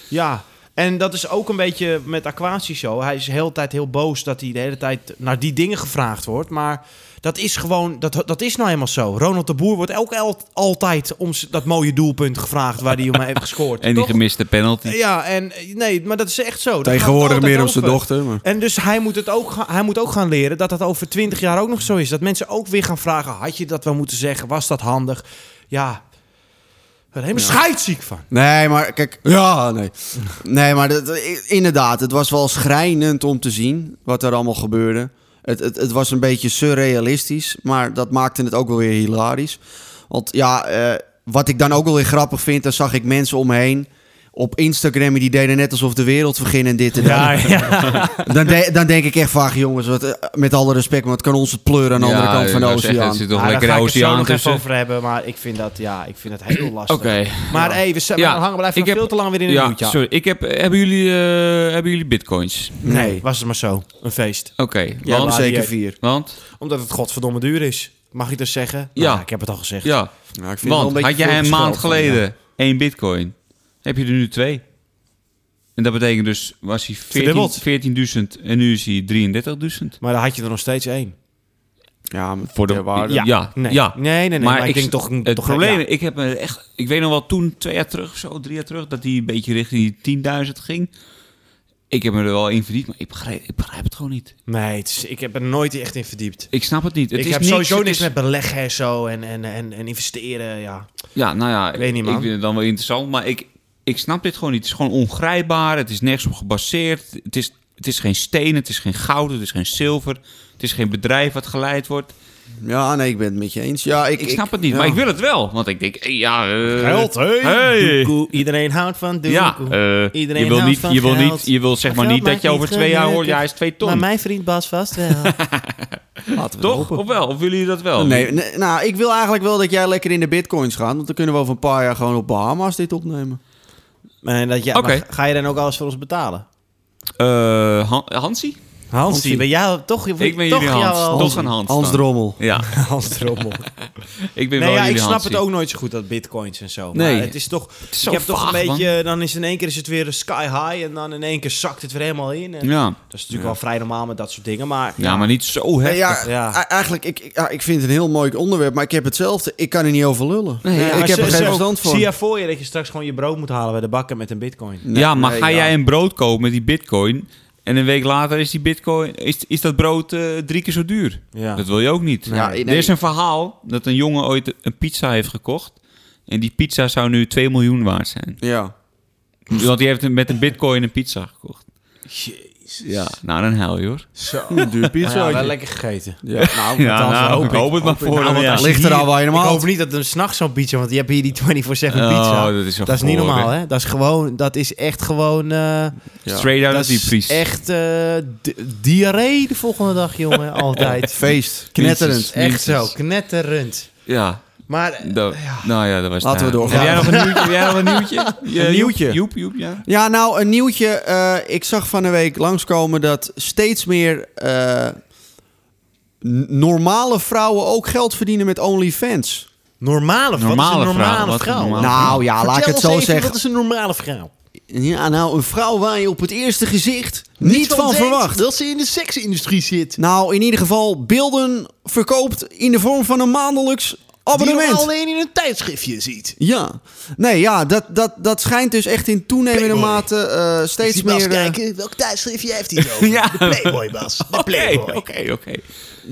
[SPEAKER 1] ja, en dat is ook een beetje met Aquatie zo. Hij is de hele tijd heel boos dat hij de hele tijd naar die dingen gevraagd wordt. Maar dat is gewoon... Dat, dat is nou helemaal zo. Ronald de Boer wordt ook el- altijd om z- dat mooie doelpunt gevraagd... waar hij om heeft gescoord.
[SPEAKER 4] en die
[SPEAKER 1] toch?
[SPEAKER 4] gemiste penalty.
[SPEAKER 1] Eh, Ja, en nee, maar dat is echt zo. Dat gaat
[SPEAKER 2] Tegenwoordig
[SPEAKER 1] altijd
[SPEAKER 2] meer om zijn
[SPEAKER 1] over.
[SPEAKER 2] dochter. Maar.
[SPEAKER 1] En dus hij moet, het ook, ga- hij moet ook gaan leren dat dat over twintig jaar ook nog zo is. Dat mensen ook weer gaan vragen, had je dat wel moeten zeggen? Was dat handig? Ja, ik ben er helemaal scheidziek van.
[SPEAKER 2] Nee, maar kijk. Ja, nee. Nee, maar dat, inderdaad, het was wel schrijnend om te zien wat er allemaal gebeurde. Het, het, het was een beetje surrealistisch, maar dat maakte het ook wel weer hilarisch. Want ja, eh, wat ik dan ook wel weer grappig vind, dan zag ik mensen omheen op Instagram die deden net alsof de wereld verging en dit en dat. Dan, de- dan denk ik echt vaak, jongens, wat, eh, met alle respect, maar het kan ons het pleuren aan de andere
[SPEAKER 4] Ja,
[SPEAKER 2] kant van de
[SPEAKER 4] ik wou zeggen,
[SPEAKER 2] oceaan.
[SPEAKER 4] Er zit toch
[SPEAKER 1] Nou, daar
[SPEAKER 4] lekker
[SPEAKER 1] ga
[SPEAKER 4] de
[SPEAKER 1] ik het zo
[SPEAKER 4] oceaan
[SPEAKER 1] nog even
[SPEAKER 4] tussen. Oké.
[SPEAKER 1] over hebben, maar ik vind dat, ja, ik vind dat heel lastig. Maar
[SPEAKER 2] Ja.
[SPEAKER 1] hey, we zijn
[SPEAKER 4] Ja,
[SPEAKER 1] we hangen blijven nog
[SPEAKER 4] ik heb-
[SPEAKER 1] veel te lang weer in een
[SPEAKER 4] Ja,
[SPEAKER 1] hoedje.
[SPEAKER 4] sorry. Ik heb, hebben, jullie, eh, hebben jullie bitcoins?
[SPEAKER 1] Nee, was het maar zo. Een feest.
[SPEAKER 4] Oké,
[SPEAKER 2] Ja,
[SPEAKER 1] maar-
[SPEAKER 4] want,
[SPEAKER 2] zeker
[SPEAKER 1] die-
[SPEAKER 2] vier.
[SPEAKER 4] want,
[SPEAKER 1] Omdat het godverdomme duur is. Mag ik dat zeggen?
[SPEAKER 4] Ja.
[SPEAKER 1] Nou, ik heb het al gezegd.
[SPEAKER 4] ja,
[SPEAKER 2] Ja, ik vind het wel
[SPEAKER 4] want
[SPEAKER 2] beetje
[SPEAKER 4] had jij
[SPEAKER 2] veel
[SPEAKER 4] een maand
[SPEAKER 2] gesteld van, ja.
[SPEAKER 4] geleden één bitcoin, heb je er nu twee. En dat betekent dus, was hij 14
[SPEAKER 1] Verdubbeld.
[SPEAKER 4] 14.000 en nu is hij 33.000.
[SPEAKER 1] Maar dan had je er nog steeds één.
[SPEAKER 2] Ja, maar
[SPEAKER 4] Voor de
[SPEAKER 2] ter waarde.
[SPEAKER 4] Ja, ja.
[SPEAKER 1] Nee. Nee, nee, nee, maar ik denk toch-
[SPEAKER 4] Het
[SPEAKER 1] toch-
[SPEAKER 4] probleem,
[SPEAKER 1] ja.
[SPEAKER 4] ik heb me echt. Ik weet nog wel toen, twee jaar terug, zo, drie jaar terug, dat hij een beetje richting die 10.000 ging. Ik heb me er wel in verdiept, maar ik begrijp, ik begrijp het gewoon niet.
[SPEAKER 1] Nee, het is- ik heb er nooit echt in verdiept.
[SPEAKER 4] Ik snap het niet. Het
[SPEAKER 1] ik
[SPEAKER 4] is
[SPEAKER 1] heb
[SPEAKER 4] niks,
[SPEAKER 1] sowieso
[SPEAKER 4] het
[SPEAKER 1] niks
[SPEAKER 4] is-
[SPEAKER 1] met beleggen en zo en, en, en, en investeren. Ja.
[SPEAKER 4] Ja, nou ja,
[SPEAKER 1] weet niet, man.
[SPEAKER 4] ik vind het dan wel interessant, maar ik, ik snap dit gewoon niet. Het is gewoon ongrijpbaar, het is nergens op gebaseerd. Het is, het is geen steen, het is geen goud, het is geen zilver. Het is geen bedrijf wat geleid wordt.
[SPEAKER 2] Ja, nee, ik ben het met je eens. Ja, ik,
[SPEAKER 4] Ik snap het niet, maar ik wil het wel. Want ik denk, eh, ja... eh,
[SPEAKER 1] Geld, hé?
[SPEAKER 4] hey.
[SPEAKER 1] Doekoe, iedereen houdt van doekoe.
[SPEAKER 4] Ja, eh,
[SPEAKER 1] Iedereen
[SPEAKER 4] je wil
[SPEAKER 1] houdt
[SPEAKER 4] niet,
[SPEAKER 1] van
[SPEAKER 4] je wil
[SPEAKER 1] geld.
[SPEAKER 4] niet, je wil zeg
[SPEAKER 1] Maar geld
[SPEAKER 4] maar niet dat
[SPEAKER 1] maakt
[SPEAKER 4] je over
[SPEAKER 1] niet
[SPEAKER 4] twee jaar hoort,
[SPEAKER 1] gelukkig.
[SPEAKER 4] ja, hij is twee ton.
[SPEAKER 1] Maar mijn vriend Bas vast wel.
[SPEAKER 2] Laten we het
[SPEAKER 4] Toch?
[SPEAKER 2] hopen.
[SPEAKER 4] Of wel? Of willen jullie dat wel?
[SPEAKER 2] Nee, nee, nou, ik wil eigenlijk wel dat jij lekker in de bitcoins gaat. Want dan kunnen we over een paar jaar gewoon op Bahamas dit opnemen.
[SPEAKER 1] Maar dat, ja,
[SPEAKER 4] Oké.
[SPEAKER 1] maar ga je dan ook alles voor ons betalen?
[SPEAKER 4] Eh, Han- Hansie?
[SPEAKER 1] Hansie, ben jij toch...
[SPEAKER 4] Ik ben
[SPEAKER 1] toch
[SPEAKER 4] jullie Hans.
[SPEAKER 1] jouw-
[SPEAKER 4] Toch een Hans
[SPEAKER 2] Hans
[SPEAKER 4] dan.
[SPEAKER 2] Drommel.
[SPEAKER 4] Ja,
[SPEAKER 1] Hans Drommel.
[SPEAKER 4] ik
[SPEAKER 1] Nee,
[SPEAKER 4] ben wel
[SPEAKER 1] ja,
[SPEAKER 4] jullie
[SPEAKER 1] ik snap
[SPEAKER 4] Hansie.
[SPEAKER 1] het ook nooit zo goed, dat bitcoins en zo.
[SPEAKER 2] Nee.
[SPEAKER 1] Maar het is toch...
[SPEAKER 4] is zo
[SPEAKER 1] je hebt toch
[SPEAKER 4] vaag,
[SPEAKER 1] een beetje... Dan is in één keer is het weer sky high en dan in één keer zakt het weer helemaal in. En
[SPEAKER 4] Ja.
[SPEAKER 1] Dat is natuurlijk wel vrij normaal met dat soort dingen, maar...
[SPEAKER 4] ja, maar niet zo
[SPEAKER 2] Nee,
[SPEAKER 4] heftig.
[SPEAKER 2] ja,
[SPEAKER 1] ja.
[SPEAKER 2] e- eigenlijk, ik, ik- ja, ik vind het een heel mooi onderwerp, maar ik heb hetzelfde. Ik kan er niet over lullen.
[SPEAKER 4] Nee, ja,
[SPEAKER 2] ik
[SPEAKER 1] maar
[SPEAKER 2] heb
[SPEAKER 1] ze-
[SPEAKER 2] er geen
[SPEAKER 1] ze-
[SPEAKER 2] verstand voor.
[SPEAKER 1] Zie je voor je dat je straks gewoon je brood moet halen bij de bakker met een bitcoin? Nou
[SPEAKER 2] Nee,
[SPEAKER 4] ja, maar
[SPEAKER 2] nee,
[SPEAKER 4] ga
[SPEAKER 2] ja.
[SPEAKER 4] jij een brood kopen met die bitcoin... en een week later is, die bitcoin, is, is dat brood eh, drie keer zo duur?
[SPEAKER 1] Ja.
[SPEAKER 4] Dat wil je ook niet.
[SPEAKER 2] Ja, nee.
[SPEAKER 4] Er is een verhaal dat een jongen ooit een pizza heeft gekocht... en die pizza zou nu 2 miljoen waard zijn.
[SPEAKER 2] Ja.
[SPEAKER 4] Want die heeft met een bitcoin een pizza gekocht.
[SPEAKER 1] Jezus.
[SPEAKER 4] Ja, nou dan huil je
[SPEAKER 2] Oh,
[SPEAKER 4] hoor.
[SPEAKER 1] Zo.
[SPEAKER 2] Duur
[SPEAKER 1] Maar ja, wel
[SPEAKER 2] pizza.
[SPEAKER 1] lekker gegeten.
[SPEAKER 2] Ja, nou,
[SPEAKER 4] Ja,
[SPEAKER 1] althans,
[SPEAKER 4] nou,
[SPEAKER 1] hoop
[SPEAKER 4] ik
[SPEAKER 1] ik.
[SPEAKER 4] hoop het maar voor
[SPEAKER 2] Nou,
[SPEAKER 4] hem,
[SPEAKER 2] want
[SPEAKER 4] ja.
[SPEAKER 2] als je- Ligt er al waar je hem
[SPEAKER 1] Ik
[SPEAKER 2] haalt.
[SPEAKER 1] hoop niet dat er s'nachts zo'n pizza... Want je hebt hier die 24-7
[SPEAKER 4] Oh,
[SPEAKER 1] pizza.
[SPEAKER 4] dat is, wel
[SPEAKER 1] Dat is niet
[SPEAKER 4] goor, hè.
[SPEAKER 1] normaal, hè? Dat is gewoon... Dat is echt gewoon... eh,
[SPEAKER 4] Straight out
[SPEAKER 1] dat
[SPEAKER 4] of die
[SPEAKER 1] is
[SPEAKER 4] priest.
[SPEAKER 1] echt eh, di- diarree de volgende dag, jongen. Altijd.
[SPEAKER 2] Feest.
[SPEAKER 1] echt
[SPEAKER 2] Knetterend.
[SPEAKER 1] zo.
[SPEAKER 4] minstens.
[SPEAKER 1] Knetterend.
[SPEAKER 4] Ja,
[SPEAKER 1] Maar... eh,
[SPEAKER 4] dat- nou ja, dat was
[SPEAKER 2] Laten
[SPEAKER 4] het.
[SPEAKER 2] we doorgaan.
[SPEAKER 4] Heb jij nog een nieuwtje? Heb jij nog een nieuwtje? Ja,
[SPEAKER 2] Een nieuwtje.
[SPEAKER 4] Joep, Joep, Joep, ja.
[SPEAKER 2] Ja, nou, een nieuwtje. eh, ik zag van de week langskomen dat steeds meer eh, n- normale vrouwen ook geld verdienen met OnlyFans.
[SPEAKER 1] normale, Wat
[SPEAKER 4] Normale
[SPEAKER 1] is een normale
[SPEAKER 4] vrouw,
[SPEAKER 1] vrouw?
[SPEAKER 4] wat een normale-
[SPEAKER 2] Nou ja, laat ik
[SPEAKER 1] Vertel
[SPEAKER 2] het
[SPEAKER 1] ons
[SPEAKER 2] zo
[SPEAKER 1] even,
[SPEAKER 2] zeggen.
[SPEAKER 1] wat is een normale vrouw?
[SPEAKER 2] Ja, nou, een vrouw waar je op het eerste gezicht niet, van,
[SPEAKER 1] denkt
[SPEAKER 2] verwacht.
[SPEAKER 1] Dat ze in de seksindustrie zit.
[SPEAKER 2] Nou, in ieder geval beelden verkoopt in de vorm van een maandelijks
[SPEAKER 1] Die je
[SPEAKER 2] abonnement.
[SPEAKER 1] alleen in een tijdschriftje ziet.
[SPEAKER 2] Ja, nee, ja, dat, dat, dat schijnt dus echt in toenemende
[SPEAKER 1] Playboy.
[SPEAKER 2] mate eh, steeds
[SPEAKER 1] Ik zie Bas
[SPEAKER 2] meer. eh,
[SPEAKER 1] kijken, welk tijdschriftje heeft hij het over?
[SPEAKER 4] Ja.
[SPEAKER 1] De Playboy, Bas. De
[SPEAKER 4] Oké,
[SPEAKER 1] Playboy.
[SPEAKER 4] oké, oké.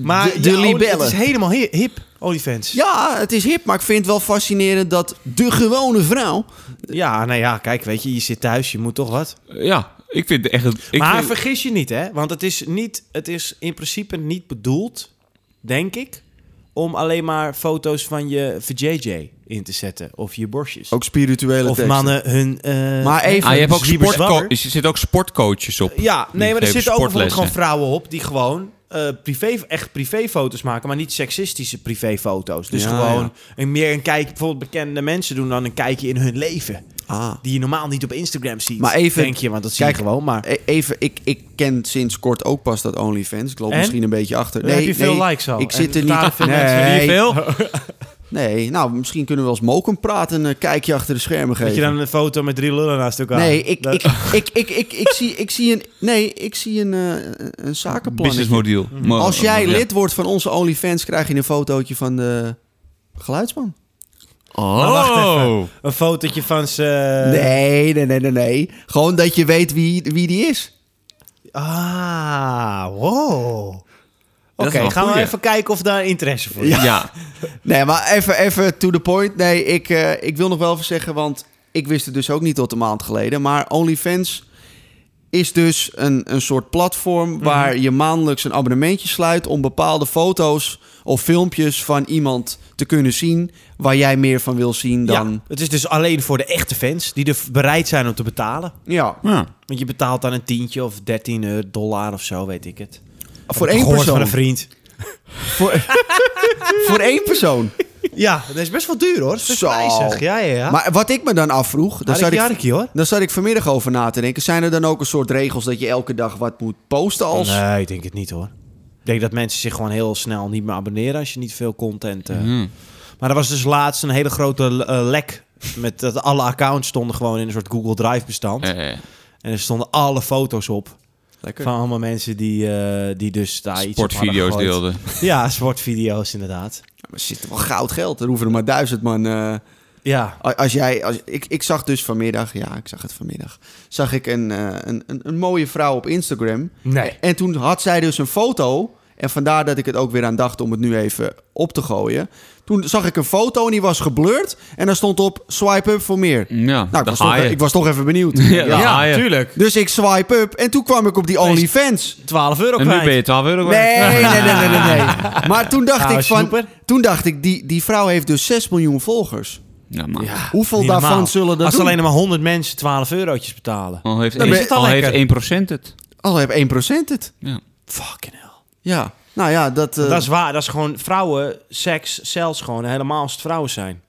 [SPEAKER 1] Maar
[SPEAKER 2] De- de
[SPEAKER 1] ja,
[SPEAKER 2] libellen.
[SPEAKER 1] Het is helemaal hi- hip, OnlyFans.
[SPEAKER 2] ja, het is hip, maar ik vind het wel fascinerend dat de gewone vrouw.
[SPEAKER 1] Ja, nou ja, kijk, weet je, je zit thuis, je moet toch wat.
[SPEAKER 4] Ja, ik vind het echt... Ik
[SPEAKER 1] maar
[SPEAKER 4] vind-
[SPEAKER 1] vergis je niet, hè? Want het is, niet, het is in principe niet bedoeld, denk ik, om alleen maar foto's van je VJJ in te zetten. Of je borstjes.
[SPEAKER 2] Ook spirituele
[SPEAKER 1] of
[SPEAKER 2] teksten.
[SPEAKER 1] mannen hun... eh,
[SPEAKER 2] Maar even-
[SPEAKER 4] Ah, je hebt ook
[SPEAKER 1] zwieber
[SPEAKER 4] sportco-
[SPEAKER 1] zwanger.
[SPEAKER 4] er zitten ook sportcoaches op.
[SPEAKER 1] Ja, nee, maar er
[SPEAKER 4] geven
[SPEAKER 1] zitten ook bijvoorbeeld
[SPEAKER 4] sportlessen.
[SPEAKER 1] gewoon vrouwen op die gewoon eh, privé, echt privéfoto's maken, maar niet seksistische privéfoto's. Dus
[SPEAKER 2] Ja,
[SPEAKER 1] gewoon
[SPEAKER 2] ja.
[SPEAKER 1] Een, meer een kijk, bijvoorbeeld bekende mensen doen dan een kijkje in hun leven.
[SPEAKER 2] Ah.
[SPEAKER 1] Die je normaal niet op Instagram ziet.
[SPEAKER 2] Maar even-
[SPEAKER 1] Denk je, want dat zie
[SPEAKER 2] Kijk,
[SPEAKER 1] je gewoon. Maar
[SPEAKER 2] E- Even, ik, ik ken sinds kort ook pas dat OnlyFans. Ik loop
[SPEAKER 1] En?
[SPEAKER 2] misschien een beetje achter.
[SPEAKER 1] Dan heb je veel likes al.
[SPEAKER 2] Ik
[SPEAKER 1] En
[SPEAKER 2] zit er
[SPEAKER 1] betalen
[SPEAKER 2] niet...
[SPEAKER 1] veel mensen.
[SPEAKER 4] Zie je
[SPEAKER 2] nee,
[SPEAKER 4] veel?
[SPEAKER 2] nee, nou, misschien kunnen we als Moken praten en een kijkje achter de schermen geven.
[SPEAKER 1] dat je dan een foto met drie lullen naast elkaar.
[SPEAKER 2] Nee, ik,
[SPEAKER 1] Dat-
[SPEAKER 2] ik, ik, ik, ik, ik, zie, ik zie een, nee, ik zie een, eh een
[SPEAKER 4] Business
[SPEAKER 2] zakenplan.
[SPEAKER 4] model.
[SPEAKER 1] Mm.
[SPEAKER 4] Mo-
[SPEAKER 2] Als jij
[SPEAKER 4] ja.
[SPEAKER 2] lid wordt van onze OnlyFans, krijg je een fotootje van de geluidsman.
[SPEAKER 1] Maar wacht
[SPEAKER 4] Oh.
[SPEAKER 1] even. Een fotootje van ze... Nou,
[SPEAKER 2] nee, nee, nee, nee, nee. Gewoon dat je weet wie, wie die is.
[SPEAKER 1] Ah, wow. Oké,
[SPEAKER 4] Dat is wel een
[SPEAKER 1] gaan we
[SPEAKER 4] goeie.
[SPEAKER 1] even kijken of daar interesse voor is.
[SPEAKER 4] Ja.
[SPEAKER 2] Nee, maar even, even to the point. Nee, ik, eh, ik wil nog wel even zeggen, want ik wist het dus ook niet tot een maand geleden. Maar OnlyFans is dus een, een soort platform
[SPEAKER 1] Mhm.
[SPEAKER 2] waar je maandelijks een abonnementje sluit om bepaalde foto's of filmpjes van iemand te kunnen zien waar jij meer van wil zien
[SPEAKER 1] Ja,
[SPEAKER 2] dan.
[SPEAKER 1] het is dus alleen voor de echte fans die er bereid zijn om te betalen.
[SPEAKER 2] Ja,
[SPEAKER 4] Ja.
[SPEAKER 1] Want je betaalt dan een tientje of 13 eh, dollar of zo, weet ik het.
[SPEAKER 2] voor
[SPEAKER 1] Heb ik
[SPEAKER 2] één
[SPEAKER 1] gehoord van
[SPEAKER 2] persoon.
[SPEAKER 1] een vriend.
[SPEAKER 2] Voor één persoon.
[SPEAKER 1] Ja, dat is best wel duur hoor. Dat is best
[SPEAKER 2] Zo.
[SPEAKER 1] prijzig. Ja, ja, ja.
[SPEAKER 2] Maar wat ik me dan afvroeg, daar zat,
[SPEAKER 1] Harikje,
[SPEAKER 2] ik,
[SPEAKER 1] harikje, hoor.
[SPEAKER 2] daar zat ik vanmiddag over na te denken. Zijn er dan ook een soort regels dat je elke dag wat moet posten als...
[SPEAKER 1] Nee, ik denk het niet hoor. Ik denk dat mensen zich gewoon heel snel niet meer abonneren als je niet veel content... eh.
[SPEAKER 4] Mhm.
[SPEAKER 1] Maar er was dus laatst een hele grote eh, lek. Met dat alle accounts stonden gewoon in een soort Google Drive bestand.
[SPEAKER 4] Eh,
[SPEAKER 1] En er stonden alle foto's op.
[SPEAKER 2] Lekker.
[SPEAKER 1] Van allemaal mensen die, eh, die dus daar iets op hadden
[SPEAKER 4] sportvideo's
[SPEAKER 1] gegooid.
[SPEAKER 4] deelden.
[SPEAKER 1] Ja, sportvideo's inderdaad.
[SPEAKER 2] Ja, maar er zit wel goud geld. Er hoeven er maar duizend man. eh,
[SPEAKER 1] Ja.
[SPEAKER 2] a- als jij, als, ik, ik zag dus vanmiddag, ja, ik zag het vanmiddag, zag ik een, eh, een, een, een mooie vrouw op Instagram.
[SPEAKER 1] Nee.
[SPEAKER 2] En toen had zij dus een foto En vandaar dat ik het ook weer aan dacht om het nu even op te gooien. Toen zag ik een foto en die was geblurred. En daar stond op swipe up voor meer.
[SPEAKER 4] Ja,
[SPEAKER 2] Nou, ik
[SPEAKER 4] daar
[SPEAKER 2] was, toch,
[SPEAKER 4] ga je.
[SPEAKER 2] ik was toch even benieuwd.
[SPEAKER 4] Ah, Ja, daar
[SPEAKER 1] Ja,
[SPEAKER 4] ga je.
[SPEAKER 1] tuurlijk.
[SPEAKER 2] Dus ik swipe up en toen kwam ik op die OnlyFans.
[SPEAKER 1] 12 euro
[SPEAKER 4] En nu
[SPEAKER 1] kwijt.
[SPEAKER 4] ben je 12 euro
[SPEAKER 2] Nee,
[SPEAKER 4] kwijt.
[SPEAKER 2] nee, nee, nee, nee, nee. Maar toen dacht
[SPEAKER 1] Nou,
[SPEAKER 2] ik van...
[SPEAKER 1] snoeper.
[SPEAKER 2] Toen dacht ik, die, die vrouw heeft dus 6 miljoen volgers.
[SPEAKER 4] Ja, Nou, maar.
[SPEAKER 1] Ja,
[SPEAKER 2] Hoeveel
[SPEAKER 1] niet
[SPEAKER 2] daarvan
[SPEAKER 1] normaal.
[SPEAKER 2] zullen dat
[SPEAKER 1] Als
[SPEAKER 2] doen?
[SPEAKER 1] alleen maar 100 mensen 12 eurotjes betalen.
[SPEAKER 4] Al heeft,
[SPEAKER 2] Dan
[SPEAKER 4] één-
[SPEAKER 2] ben je
[SPEAKER 1] al
[SPEAKER 4] al heeft
[SPEAKER 1] lekker.
[SPEAKER 4] 1% het.
[SPEAKER 2] Al heb 1% het.
[SPEAKER 4] Ja.
[SPEAKER 1] Fucking hell.
[SPEAKER 2] Ja. Nou ja, dat... eh,
[SPEAKER 1] Dat is waar. Dat is gewoon vrouwen, seks, zelfs gewoon. Helemaal als het vrouwen zijn.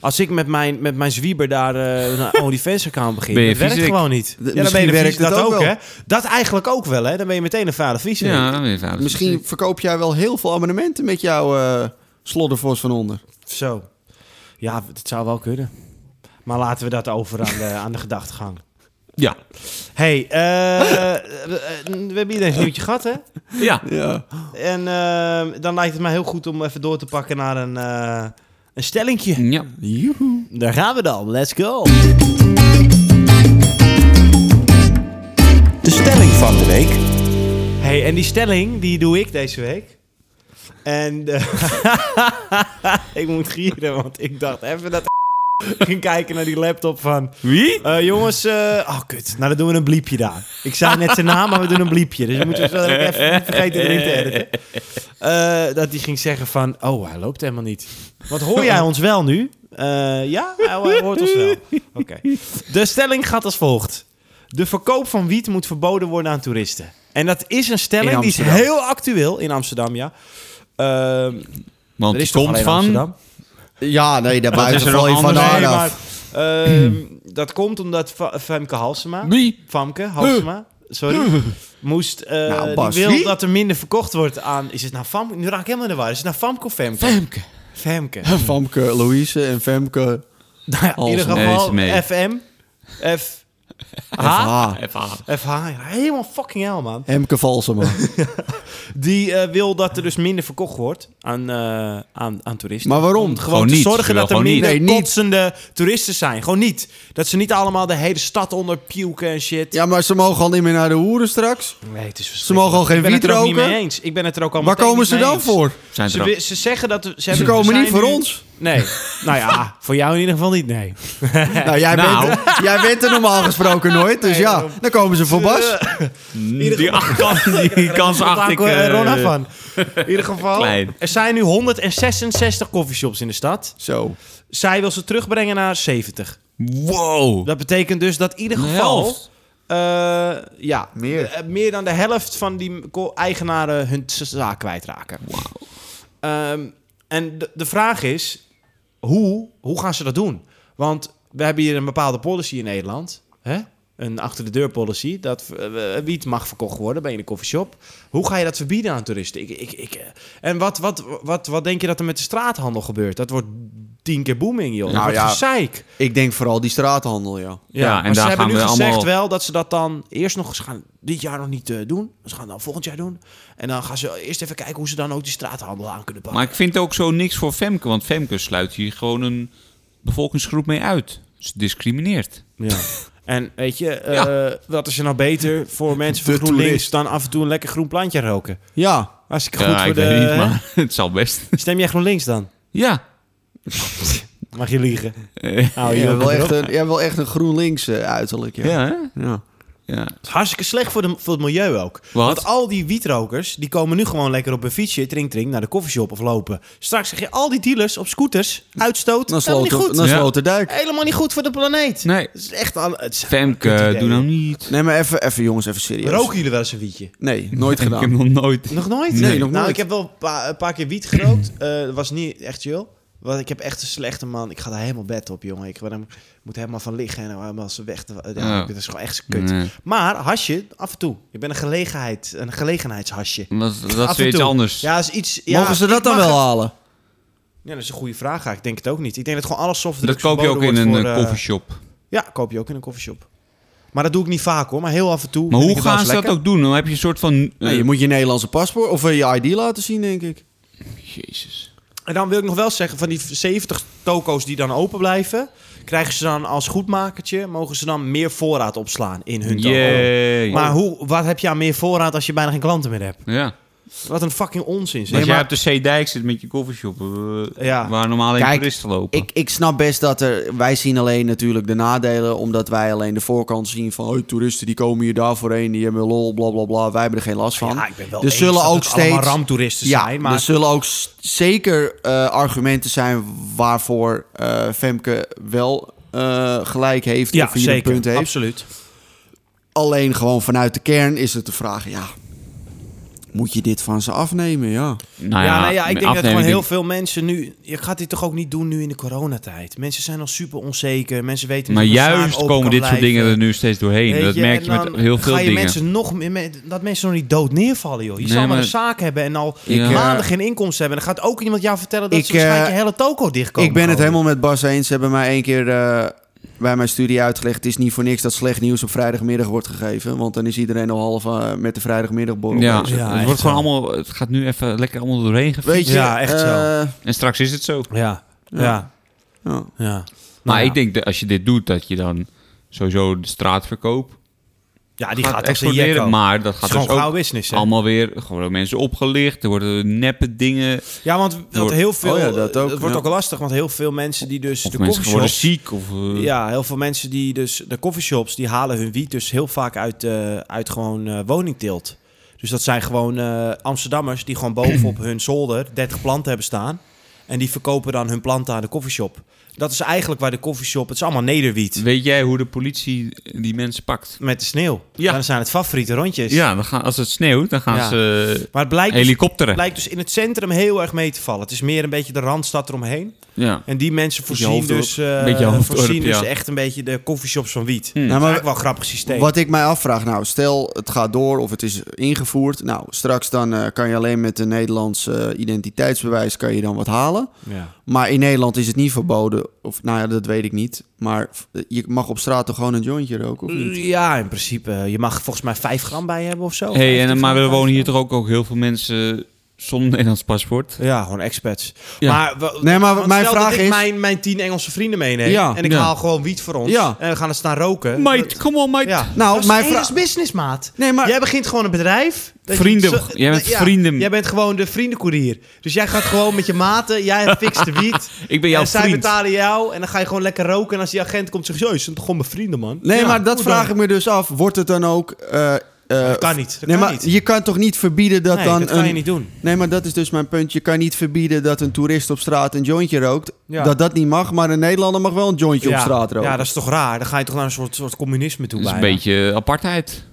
[SPEAKER 1] Als ik met mijn, met mijn zwieber daar eh, een OnlyFans-account begin,
[SPEAKER 4] Ben je
[SPEAKER 1] dat werkt
[SPEAKER 4] viezerik?
[SPEAKER 1] gewoon niet. Ja, dan ben
[SPEAKER 2] misschien
[SPEAKER 1] je de
[SPEAKER 2] werkt
[SPEAKER 1] vies, dat
[SPEAKER 2] het ook
[SPEAKER 1] ook,
[SPEAKER 2] wel.
[SPEAKER 1] hè? Dat eigenlijk ook wel, hè? Dan ben je meteen een vuile viezer.
[SPEAKER 4] Ja, dan ben je 50.
[SPEAKER 2] Misschien verkoop jij wel heel veel abonnementen met jouw eh sloddervos van onder.
[SPEAKER 1] Zo. Ja, dat zou wel kunnen. Maar laten we dat over aan de, aan de gedachtegang.
[SPEAKER 4] Ja.
[SPEAKER 1] hey, eh, eh, eh, we hebben iedereen een nieuwtje gehad, hè?
[SPEAKER 4] Ja.
[SPEAKER 2] Ja.
[SPEAKER 1] En eh, dan lijkt het mij heel goed om even door te pakken naar een, eh een stellingje.
[SPEAKER 4] ja.
[SPEAKER 1] Daar gaan we dan. Let's go.
[SPEAKER 2] De stelling van de week.
[SPEAKER 1] hey, en die stelling, die doe ik deze week. En eh, ik moet gieren, want ik dacht even dat ging kijken naar die laptop van...
[SPEAKER 4] Wie?
[SPEAKER 1] eh, jongens, eh, oh kut, nou dan doen we een bliepje daar. Ik zei net zijn naam, maar we doen een bliepje. Dus je moet dat ik even niet vergeten erin te editen. Eh, dat die ging zeggen van, oh hij loopt helemaal niet. Want hoor jij ons wel nu? Eh, ja, hij hij hoort ons wel. Oké. De stelling gaat als volgt. De verkoop van wiet moet verboden worden aan toeristen. En dat is een stelling
[SPEAKER 2] In
[SPEAKER 1] die is
[SPEAKER 2] Amsterdam.
[SPEAKER 1] heel actueel in Amsterdam, ja. Ehm er
[SPEAKER 4] Want die
[SPEAKER 1] is toch
[SPEAKER 4] komt
[SPEAKER 1] alleen
[SPEAKER 4] van...
[SPEAKER 1] Amsterdam.
[SPEAKER 2] Ja, nee,
[SPEAKER 4] is
[SPEAKER 2] daarbuiten
[SPEAKER 4] er
[SPEAKER 2] val je
[SPEAKER 4] nog
[SPEAKER 2] van
[SPEAKER 4] anders?
[SPEAKER 2] haar
[SPEAKER 1] Nee, maar,
[SPEAKER 2] af.
[SPEAKER 1] ehm, dat komt omdat Fa- Femke Halsema...
[SPEAKER 4] Wie?
[SPEAKER 1] Famke Halsema, sorry. Moest, eh,
[SPEAKER 2] Nou,
[SPEAKER 1] die
[SPEAKER 2] Bas,
[SPEAKER 1] wil
[SPEAKER 2] wie?
[SPEAKER 1] dat er minder verkocht wordt aan... Is het nou Famke? Nu raak ik helemaal in de war. Is het nou Famke of Femke? Femke. Femke.
[SPEAKER 2] Famke, Louise en Femke.
[SPEAKER 1] Nou ja, in ieder
[SPEAKER 4] Halsema.
[SPEAKER 1] geval
[SPEAKER 4] Nee, is
[SPEAKER 1] FM. F... H?
[SPEAKER 2] Ah,
[SPEAKER 1] FH. ja, Helemaal fucking hell, man.
[SPEAKER 2] Hemke Valsema.
[SPEAKER 1] Die eh, wil dat er dus minder verkocht wordt aan, eh, aan, aan toeristen.
[SPEAKER 2] Maar waarom?
[SPEAKER 1] Om gewoon
[SPEAKER 4] Gewoon
[SPEAKER 1] te
[SPEAKER 4] niet. Ze
[SPEAKER 1] zorgen
[SPEAKER 4] wil
[SPEAKER 1] dat er
[SPEAKER 4] gewoon niet.
[SPEAKER 1] minder
[SPEAKER 2] Nee, niet.
[SPEAKER 1] kotsende toeristen zijn. Gewoon niet. Dat ze niet allemaal de hele stad onder puken en shit.
[SPEAKER 2] Ja, maar ze mogen al niet meer naar de hoeren straks.
[SPEAKER 1] Nee, het is verschrikkelijk.
[SPEAKER 2] Ze mogen al geen
[SPEAKER 1] Ik ben het
[SPEAKER 2] wiet
[SPEAKER 1] er ook niet
[SPEAKER 2] roken.
[SPEAKER 1] mee eens. Ik ben het er ook allemaal
[SPEAKER 2] Waar komen ze dan voor?
[SPEAKER 4] Zijn
[SPEAKER 1] Ze,
[SPEAKER 4] er ook-
[SPEAKER 1] wi- ze zeggen dat... Ze,
[SPEAKER 2] Ze
[SPEAKER 1] hebben- we
[SPEAKER 2] komen
[SPEAKER 1] zijn
[SPEAKER 2] niet voor
[SPEAKER 1] nu-
[SPEAKER 2] ons.
[SPEAKER 1] Nee. nou ja, voor jou in ieder geval niet, nee.
[SPEAKER 2] Nou, jij,
[SPEAKER 4] Nou.
[SPEAKER 2] Bent, jij bent er normaal gesproken nooit. Dus
[SPEAKER 1] Nee,
[SPEAKER 2] ja,
[SPEAKER 1] daarom.
[SPEAKER 2] dan komen ze voor Bas.
[SPEAKER 4] Die, achterkant, die kans acht ik...
[SPEAKER 1] eh,
[SPEAKER 4] eh,
[SPEAKER 1] Rona van. In ieder geval,
[SPEAKER 4] Klein.
[SPEAKER 1] er zijn nu 166 coffeeshops in de stad.
[SPEAKER 2] Zo.
[SPEAKER 1] Zij wil ze terugbrengen naar 70.
[SPEAKER 4] Wow.
[SPEAKER 1] Dat betekent dus dat in ieder
[SPEAKER 4] De
[SPEAKER 1] geval...
[SPEAKER 4] helft.
[SPEAKER 1] eh, ja,
[SPEAKER 2] Meer.
[SPEAKER 1] eh, meer dan de helft van die co- eigenaren hun z- zaak kwijtraken. Ehm, en de, de vraag is, hoe, hoe gaan ze dat doen? Want we hebben hier een bepaalde policy in Nederland. Hè? Een achter-de-deur policy. Dat eh, eh, wiet mag verkocht worden bij in de koffieshop. Hoe ga je dat verbieden aan toeristen? Ik, ik, ik, eh, en wat, wat, wat, wat denk je dat er met de straathandel gebeurt? Dat wordt tien keer booming, joh.
[SPEAKER 2] Nou
[SPEAKER 1] Nou,
[SPEAKER 2] ja.
[SPEAKER 1] ja. gezeik.
[SPEAKER 2] Ik denk vooral die straathandel, ja.
[SPEAKER 4] Ja, en
[SPEAKER 1] maar ze
[SPEAKER 4] daar
[SPEAKER 1] hebben
[SPEAKER 4] gaan
[SPEAKER 1] nu
[SPEAKER 4] we
[SPEAKER 1] gezegd
[SPEAKER 4] allemaal-
[SPEAKER 1] wel dat ze dat dan eerst nog... Ze gaan dit jaar nog niet eh, doen. Ze gaan dan volgend jaar doen. En dan gaan ze eerst even kijken hoe ze dan ook die straathandel aan kunnen pakken.
[SPEAKER 4] Maar ik vind ook zo niks voor Femke. Want Femke sluit hier gewoon een bevolkingsgroep mee uit. Ze discrimineert.
[SPEAKER 1] Ja. En weet je, eh,
[SPEAKER 4] Ja.
[SPEAKER 1] wat is er nou beter voor mensen van
[SPEAKER 2] De
[SPEAKER 1] GroenLinks
[SPEAKER 2] toerist.
[SPEAKER 1] dan af en toe een lekker groen plantje roken?
[SPEAKER 2] Ja.
[SPEAKER 1] Als ik goed
[SPEAKER 4] Ja,
[SPEAKER 1] voor
[SPEAKER 4] ik
[SPEAKER 1] de...
[SPEAKER 4] weet niet, maar het zal best.
[SPEAKER 1] Stem jij GroenLinks dan?
[SPEAKER 4] Ja.
[SPEAKER 1] Mag je liegen?
[SPEAKER 4] Eh,
[SPEAKER 1] Nou,
[SPEAKER 2] Jij
[SPEAKER 1] je
[SPEAKER 2] hebt wel, echt
[SPEAKER 1] Het
[SPEAKER 2] een- jij hebt wel echt een GroenLinks eh, uiterlijk, ja.
[SPEAKER 4] Ja, hè?
[SPEAKER 2] ja.
[SPEAKER 4] Ja.
[SPEAKER 1] is hartstikke slecht voor, de, voor het milieu ook. Want al die wietrokers, die komen nu gewoon lekker op hun fietsje, trink trink, naar de koffieshop of lopen. Straks zeg je al die dealers op scooters, uitstoot,
[SPEAKER 2] Dan
[SPEAKER 1] helemaal niet goed.
[SPEAKER 2] sloot
[SPEAKER 4] Ja.
[SPEAKER 2] Sloterdijk.
[SPEAKER 1] Helemaal niet goed voor de planeet.
[SPEAKER 4] Nee.
[SPEAKER 1] Het is echt... Al, het is- Kut
[SPEAKER 4] Femke,
[SPEAKER 1] idee.
[SPEAKER 4] doe nou niet.
[SPEAKER 2] Nee, maar even, even jongens, even serieus.
[SPEAKER 1] Roken jullie wel eens een wietje?
[SPEAKER 2] Nee, nooit
[SPEAKER 4] Ik heb
[SPEAKER 2] gedaan.
[SPEAKER 4] nog nooit.
[SPEAKER 1] Nog nooit?
[SPEAKER 2] Nee, nog nooit.
[SPEAKER 1] Nou, ik heb wel een paar, een paar keer wiet gerookt. Eh was niet echt chill. Want ik heb echt een slechte man. Ik ga daar helemaal bed op, jongen. Ik ben hem- moet helemaal van liggen en helemaal ze weg. te- Ja,
[SPEAKER 4] Oh.
[SPEAKER 1] Dat is gewoon echt kut.
[SPEAKER 4] Nee.
[SPEAKER 1] Maar hasje, af en toe. Ik ben een gelegenheid, een gelegenheidshasje.
[SPEAKER 4] Dat, dat is
[SPEAKER 1] Af en
[SPEAKER 4] weer iets
[SPEAKER 1] toe.
[SPEAKER 4] anders.
[SPEAKER 1] Ja, is iets. Ja,
[SPEAKER 2] Mogen ze
[SPEAKER 1] ik
[SPEAKER 2] dat dan
[SPEAKER 1] mag
[SPEAKER 2] wel
[SPEAKER 1] het-
[SPEAKER 2] halen?
[SPEAKER 1] Ja, dat is een goede vraag. Ik denk het ook niet. Ik denk dat gewoon alles softdrugs
[SPEAKER 4] dat koop je ook in
[SPEAKER 1] verboden
[SPEAKER 4] een
[SPEAKER 1] wordt
[SPEAKER 4] eh,
[SPEAKER 1] voor, eh,
[SPEAKER 4] koffieshop.
[SPEAKER 1] Ja, koop je ook in een koffieshop. Maar dat doe ik niet vaak hoor. Maar heel af en toe.
[SPEAKER 4] Maar
[SPEAKER 1] vind ik
[SPEAKER 4] hoe
[SPEAKER 1] het wel
[SPEAKER 4] gaan
[SPEAKER 1] eens
[SPEAKER 4] ze dat
[SPEAKER 1] lekker.
[SPEAKER 4] ook doen? Dan heb je een soort van... eh,
[SPEAKER 2] Nee, je moet je Nederlandse paspoort of eh, je ID laten zien, denk ik.
[SPEAKER 4] Jezus.
[SPEAKER 1] En dan wil ik nog wel zeggen, van die 70 toko's die dan open blijven, krijgen ze dan als goedmakertje, mogen ze dan meer voorraad opslaan in hun toko.
[SPEAKER 4] Yay.
[SPEAKER 1] Maar hoe, wat heb je aan meer voorraad als je bijna geen klanten meer hebt?
[SPEAKER 4] Ja.
[SPEAKER 1] Wat een fucking onzin.
[SPEAKER 4] Als
[SPEAKER 1] Zeg.
[SPEAKER 4] jij op de Zeedijk zit met je koffieshop, eh,
[SPEAKER 1] Ja.
[SPEAKER 4] waar normaal alleen
[SPEAKER 2] Kijk,
[SPEAKER 4] toeristen lopen.
[SPEAKER 2] Ik, ik snap best dat er... Wij zien alleen natuurlijk de nadelen... omdat wij alleen de voorkant zien van... "Hey, toeristen die komen hier daarvoor heen... die hebben lol, bla bla bla. Wij hebben er geen last van.
[SPEAKER 1] ja, ik ben wel
[SPEAKER 2] er
[SPEAKER 1] eens
[SPEAKER 2] zullen
[SPEAKER 1] dat
[SPEAKER 2] ook
[SPEAKER 1] het
[SPEAKER 2] steeds...
[SPEAKER 1] allemaal ramtoeristen zijn, maar
[SPEAKER 2] er zullen ook s- zeker eh, argumenten zijn... waarvoor eh, Femke wel eh, gelijk heeft...
[SPEAKER 1] ja,
[SPEAKER 2] of hier een
[SPEAKER 1] zeker,
[SPEAKER 2] punt heeft.
[SPEAKER 1] absoluut.
[SPEAKER 2] Alleen gewoon vanuit de kern is het de vraag... ja, moet je dit van ze afnemen? Ja.
[SPEAKER 4] nou
[SPEAKER 1] ja, nou ja, ik denk dat
[SPEAKER 4] afneming-
[SPEAKER 1] gewoon heel veel mensen nu... Je gaat dit toch ook niet doen nu in de coronatijd? Mensen zijn al super onzeker. Mensen weten
[SPEAKER 4] Maar
[SPEAKER 1] niet of de zaak
[SPEAKER 4] juist
[SPEAKER 1] open
[SPEAKER 4] komen
[SPEAKER 1] kan
[SPEAKER 4] dit soort dingen
[SPEAKER 1] blijven.
[SPEAKER 4] er nu steeds doorheen.
[SPEAKER 1] eh, Weet
[SPEAKER 4] Dat merk je
[SPEAKER 1] en
[SPEAKER 4] met
[SPEAKER 1] dan
[SPEAKER 4] heel veel
[SPEAKER 1] ga je
[SPEAKER 4] dingen.
[SPEAKER 1] Mensen nog, meer- met- dat mensen nog niet dood neervallen, joh. Je
[SPEAKER 4] Nee,
[SPEAKER 1] zal maar,
[SPEAKER 4] maar-
[SPEAKER 1] een zaak hebben en al
[SPEAKER 4] Ik,
[SPEAKER 1] maanden
[SPEAKER 2] eh,
[SPEAKER 1] geen inkomsten hebben. En dan gaat ook iemand jou vertellen dat
[SPEAKER 2] ik,
[SPEAKER 1] ze waarschijnlijk
[SPEAKER 2] eh,
[SPEAKER 1] je hele toko dichtkomen.
[SPEAKER 2] Ik ben het helemaal met Bas eens. Ze hebben mij één keer eh, bij mijn studie uitgelegd... het is niet voor niks dat slecht nieuws op vrijdagmiddag wordt gegeven. Want dan is iedereen al half eh, met de vrijdagmiddagborrel
[SPEAKER 4] Ja,
[SPEAKER 2] bezig.
[SPEAKER 1] Ja,
[SPEAKER 4] het
[SPEAKER 1] echt
[SPEAKER 4] wordt gewoon
[SPEAKER 1] wel.
[SPEAKER 4] allemaal. Het gaat nu even lekker allemaal doorheen. gefietst.
[SPEAKER 2] Weet je,
[SPEAKER 1] Ja, echt zo.
[SPEAKER 2] eh,
[SPEAKER 4] En straks is het zo.
[SPEAKER 1] Ja, ja,
[SPEAKER 2] ja.
[SPEAKER 1] ja.
[SPEAKER 4] Maar
[SPEAKER 1] Nou ja.
[SPEAKER 4] ik denk dat als je dit doet, dat je dan sowieso de straatverkoop
[SPEAKER 1] Ja, die
[SPEAKER 4] gaat,
[SPEAKER 1] gaat, echt een
[SPEAKER 4] exploderen.
[SPEAKER 1] jekko.
[SPEAKER 4] Maar dat
[SPEAKER 1] Het
[SPEAKER 4] gaat
[SPEAKER 1] is gewoon
[SPEAKER 4] dus
[SPEAKER 1] gauw
[SPEAKER 4] ook
[SPEAKER 1] business, hè?
[SPEAKER 4] allemaal weer gewoon mensen opgelicht. Er worden neppe dingen.
[SPEAKER 1] Ja, want dat
[SPEAKER 4] Wordt-
[SPEAKER 1] heel veel...
[SPEAKER 2] Oh ja, dat ook,
[SPEAKER 1] het wordt
[SPEAKER 2] ja.
[SPEAKER 1] ook lastig, want heel veel mensen die dus
[SPEAKER 4] Of
[SPEAKER 1] de
[SPEAKER 4] mensen worden
[SPEAKER 1] coffeeshops...
[SPEAKER 4] ziek. Of, eh,
[SPEAKER 1] Ja, heel veel mensen die dus de coffeeshops die halen hun wiet dus heel vaak uit, eh, uit gewoon eh, woningteelt. Dus dat zijn gewoon eh, Amsterdammers die gewoon bovenop hun zolder 30 planten hebben staan. En die verkopen dan hun planten aan de coffeeshop. Dat is eigenlijk waar de coffeeshop, het is allemaal nederwiet.
[SPEAKER 4] Weet jij hoe de politie die mensen pakt?
[SPEAKER 1] Met de sneeuw.
[SPEAKER 4] Ja.
[SPEAKER 1] Dan zijn het favoriete rondjes.
[SPEAKER 4] Ja, dan gaan, als het sneeuwt, dan gaan
[SPEAKER 1] Ja.
[SPEAKER 4] ze
[SPEAKER 1] Maar het blijkt dus,
[SPEAKER 4] helikopteren.
[SPEAKER 1] blijkt dus in het centrum heel erg mee te vallen. Het is meer een beetje de randstad eromheen.
[SPEAKER 4] ja.
[SPEAKER 1] En die mensen voorzien
[SPEAKER 2] Hoofddorp.
[SPEAKER 1] dus, eh,
[SPEAKER 4] Beetje Hoofddorp,
[SPEAKER 1] voorzien dus
[SPEAKER 4] ja.
[SPEAKER 1] echt een beetje de coffeeshops van wiet. Dat is
[SPEAKER 2] Nou, maar
[SPEAKER 1] eigenlijk Hm. wel een grappig systeem.
[SPEAKER 2] Wat ik mij afvraag, nou, stel het gaat door of het is ingevoerd. Nou, straks dan eh, kan je alleen met een Nederlands eh, identiteitsbewijs kan je dan wat halen.
[SPEAKER 1] Ja.
[SPEAKER 2] Maar in Nederland is het niet verboden. Of, nou ja, dat weet ik niet. Maar f- je mag op straat toch gewoon een jointje roken, of niet?
[SPEAKER 1] Ja, in principe. eh, Je mag volgens mij 5 gram bij hebben of zo.
[SPEAKER 4] Hey,
[SPEAKER 1] 15
[SPEAKER 4] en, eh, maar er
[SPEAKER 1] gram.
[SPEAKER 4] wonen hier toch ook, ook heel veel mensen zonder Nederlands paspoort.
[SPEAKER 1] Ja, gewoon expats.
[SPEAKER 4] Ja.
[SPEAKER 1] Maar, we-
[SPEAKER 2] Nee, maar
[SPEAKER 1] want
[SPEAKER 2] mijn
[SPEAKER 1] stel
[SPEAKER 2] vraag
[SPEAKER 1] dat ik
[SPEAKER 2] is-
[SPEAKER 1] mijn, mijn tien Engelse vrienden meeneem...
[SPEAKER 2] Ja.
[SPEAKER 1] en ik
[SPEAKER 4] Ja.
[SPEAKER 1] haal gewoon wiet voor ons...
[SPEAKER 2] Ja.
[SPEAKER 1] en we gaan er staan roken...
[SPEAKER 4] Mate, kom op, mate.
[SPEAKER 1] Ja.
[SPEAKER 2] Nou,
[SPEAKER 1] dat is
[SPEAKER 2] mijn
[SPEAKER 1] mijn
[SPEAKER 2] vraag-
[SPEAKER 1] business, maat.
[SPEAKER 2] Nee, maar-
[SPEAKER 1] Jij begint gewoon een bedrijf. dat je-
[SPEAKER 4] Vrienden-
[SPEAKER 1] zo-
[SPEAKER 4] jij bent
[SPEAKER 1] ja,
[SPEAKER 4] vrienden-
[SPEAKER 1] Jij bent gewoon de vriendencourier. Dus jij gaat gewoon met je maten, jij fixt de wiet.
[SPEAKER 4] Ik ben jouw
[SPEAKER 1] en zij
[SPEAKER 4] vriend.
[SPEAKER 1] betalen jou en dan ga je gewoon lekker roken. En als die agent komt, zeg je, "Yo, ze zijn toch gewoon mijn vrienden, man.
[SPEAKER 2] Nee,
[SPEAKER 1] Ja,
[SPEAKER 2] maar dat
[SPEAKER 1] hoe
[SPEAKER 2] vraag
[SPEAKER 1] dan?
[SPEAKER 2] ik me dus af. Wordt het dan ook... eh, eh,
[SPEAKER 1] kan niet, dat
[SPEAKER 2] nee,
[SPEAKER 1] kan
[SPEAKER 2] maar
[SPEAKER 1] niet.
[SPEAKER 2] je kan toch niet verbieden dat
[SPEAKER 1] Nee,
[SPEAKER 2] dan
[SPEAKER 1] dat kan je
[SPEAKER 2] een-
[SPEAKER 1] niet doen.
[SPEAKER 2] Nee, maar dat is dus mijn punt. Je kan niet verbieden dat een toerist op straat een jointje rookt.
[SPEAKER 1] Ja.
[SPEAKER 2] Dat dat niet mag, maar een Nederlander mag wel een jointje op straat roken.
[SPEAKER 1] Ja, dat is toch raar? Dan ga je toch naar een soort, soort communisme toe
[SPEAKER 4] Dat is een
[SPEAKER 1] bijna.
[SPEAKER 4] beetje apartheid.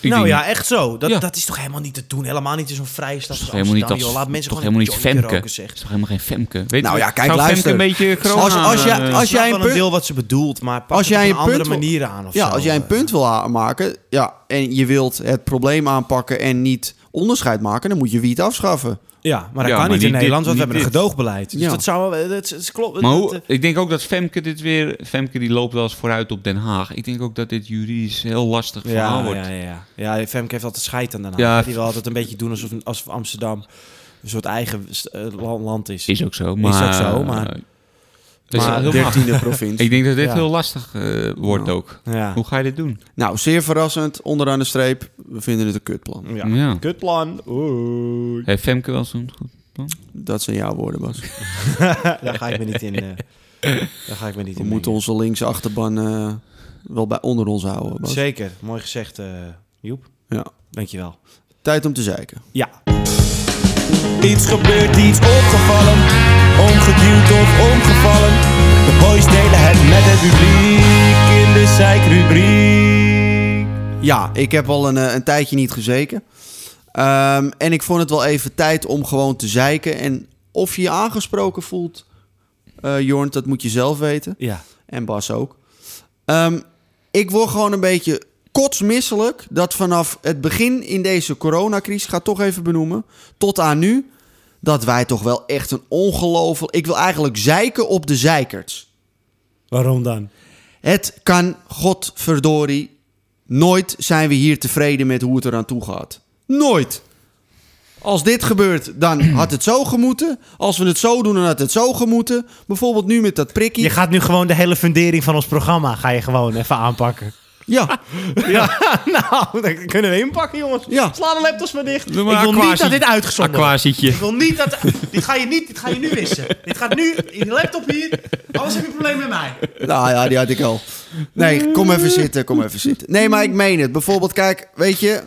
[SPEAKER 4] Ik
[SPEAKER 1] nou
[SPEAKER 4] denk-
[SPEAKER 1] ja, echt zo. Dat,
[SPEAKER 4] Ja.
[SPEAKER 1] dat is toch helemaal niet te doen? Helemaal niet in zo'n vrije stad
[SPEAKER 4] Dat is
[SPEAKER 1] als
[SPEAKER 4] toch helemaal niet,
[SPEAKER 1] Amsterdam,
[SPEAKER 4] dat,
[SPEAKER 1] joh. Laat mensen
[SPEAKER 4] toch
[SPEAKER 1] gewoon
[SPEAKER 4] helemaal niet
[SPEAKER 1] een jointje
[SPEAKER 4] Femke.
[SPEAKER 1] roken,
[SPEAKER 4] Dat
[SPEAKER 1] zeg.
[SPEAKER 4] is toch helemaal geen Femke. Weet
[SPEAKER 2] Nou
[SPEAKER 4] je-
[SPEAKER 2] ja, kijk,
[SPEAKER 4] zou
[SPEAKER 2] luister.
[SPEAKER 4] Femke een beetje corona...
[SPEAKER 2] Als- als jij-
[SPEAKER 4] eh,
[SPEAKER 2] als-
[SPEAKER 1] Ik snap
[SPEAKER 2] jij
[SPEAKER 1] wel
[SPEAKER 2] een punt
[SPEAKER 1] deel wat ze bedoelt, maar pak het
[SPEAKER 2] Als jij
[SPEAKER 1] op
[SPEAKER 2] een
[SPEAKER 1] een andere
[SPEAKER 2] punt wil-
[SPEAKER 1] manier aan of
[SPEAKER 2] Ja,
[SPEAKER 1] zo. eh.
[SPEAKER 2] als jij een
[SPEAKER 4] eh.
[SPEAKER 2] punt wil ha- maken ja, en je wilt het probleem aanpakken en niet onderscheid maken, dan moet je wiet afschaffen.
[SPEAKER 1] Ja, maar dat kan
[SPEAKER 4] Ja, maar
[SPEAKER 1] niet in
[SPEAKER 4] niet dit,
[SPEAKER 1] Nederland, want we
[SPEAKER 4] niet
[SPEAKER 1] hebben een
[SPEAKER 4] dit.
[SPEAKER 1] gedoogbeleid. Dus
[SPEAKER 2] Ja.
[SPEAKER 1] dat zou wel- dat, is- dat klopt.
[SPEAKER 4] maar
[SPEAKER 1] Dat,
[SPEAKER 4] hoe,
[SPEAKER 1] eh,
[SPEAKER 4] ik denk ook dat Femke dit weer... Femke die loopt wel eens vooruit op Den Haag. Ik denk ook dat dit juridisch heel lastig verhaal
[SPEAKER 1] ja,
[SPEAKER 4] wordt.
[SPEAKER 1] ja, ja, ja. Ja, Femke heeft altijd scheid aan daarna.
[SPEAKER 4] Ja.
[SPEAKER 1] Die wil altijd een beetje doen alsof, alsof Amsterdam een soort eigen eh, land- land is.
[SPEAKER 4] Is ook zo, maar...
[SPEAKER 1] ook zo, maar-
[SPEAKER 4] Het is
[SPEAKER 1] Maar
[SPEAKER 4] heel makkelijk.
[SPEAKER 2] 13e provincie.
[SPEAKER 4] Ik denk dat dit
[SPEAKER 1] Ja.
[SPEAKER 4] heel lastig eh, wordt ook.
[SPEAKER 1] Ja.
[SPEAKER 4] Hoe ga je dit doen?
[SPEAKER 2] nou, zeer verrassend, onderaan de streep, we vinden het een kutplan.
[SPEAKER 1] Ja.
[SPEAKER 4] Ja.
[SPEAKER 1] Kutplan. Oei.
[SPEAKER 4] Heeft Femke wel zo'n goed plan?
[SPEAKER 2] Dat zijn jouw woorden, Bas.
[SPEAKER 1] Daar ga ik me niet in. eh, daar ga ik me niet
[SPEAKER 2] We
[SPEAKER 1] in.
[SPEAKER 2] moeten
[SPEAKER 1] mengen.
[SPEAKER 2] onze linkse achterban eh, wel bij onder ons houden, Bas.
[SPEAKER 1] Zeker. Mooi gezegd, eh Joep.
[SPEAKER 2] Ja.
[SPEAKER 1] Dankjewel.
[SPEAKER 2] Tijd om te zeiken.
[SPEAKER 1] Ja.
[SPEAKER 5] Iets gebeurt, iets opgevallen. Omgeduwd of omgevallen. De boys delen het met het publiek in de zeikrubriek.
[SPEAKER 2] Ja, ik heb al een, eh, een tijdje niet gezeken. Ehm, en ik vond het wel even tijd om gewoon te zeiken. En of je je aangesproken voelt, eh Jorn, dat moet je zelf weten.
[SPEAKER 1] Ja.
[SPEAKER 2] En Bas ook. Ehm, ik word gewoon een beetje kotsmisselijk dat vanaf het begin in deze coronacrisis, ik ga het toch even benoemen, tot aan nu, dat wij toch wel echt een ongelooflijk... Ik wil eigenlijk zeiken op de zeikerts.
[SPEAKER 1] Waarom dan?
[SPEAKER 2] Het kan, godverdorie, nooit zijn we hier tevreden met hoe het eraan toe gaat. Nooit. Als dit gebeurt, dan had het zo gemoeten. Als we het zo doen, dan had het zo gemoeten. Bijvoorbeeld nu met dat prikkie.
[SPEAKER 1] Je gaat nu gewoon de hele fundering van ons programma ga je gewoon even aanpakken.
[SPEAKER 2] Ja,
[SPEAKER 1] Ja, nou, dan kunnen we inpakken, jongens.
[SPEAKER 2] Ja.
[SPEAKER 1] Sla de laptops maar dicht.
[SPEAKER 4] Doe maar
[SPEAKER 1] ik wil
[SPEAKER 4] aquasi.
[SPEAKER 1] niet dat dit uitgezonden wordt.
[SPEAKER 4] Aquasietje.
[SPEAKER 1] Ik wil niet dat... Dit ga je niet, dit ga je nu wissen. dit gaat nu in de laptop hier. Anders heb je een probleem met mij.
[SPEAKER 2] nou ja, die had ik al. Nee, kom even zitten, kom even zitten. Nee, maar ik meen het. Bijvoorbeeld, kijk, weet je,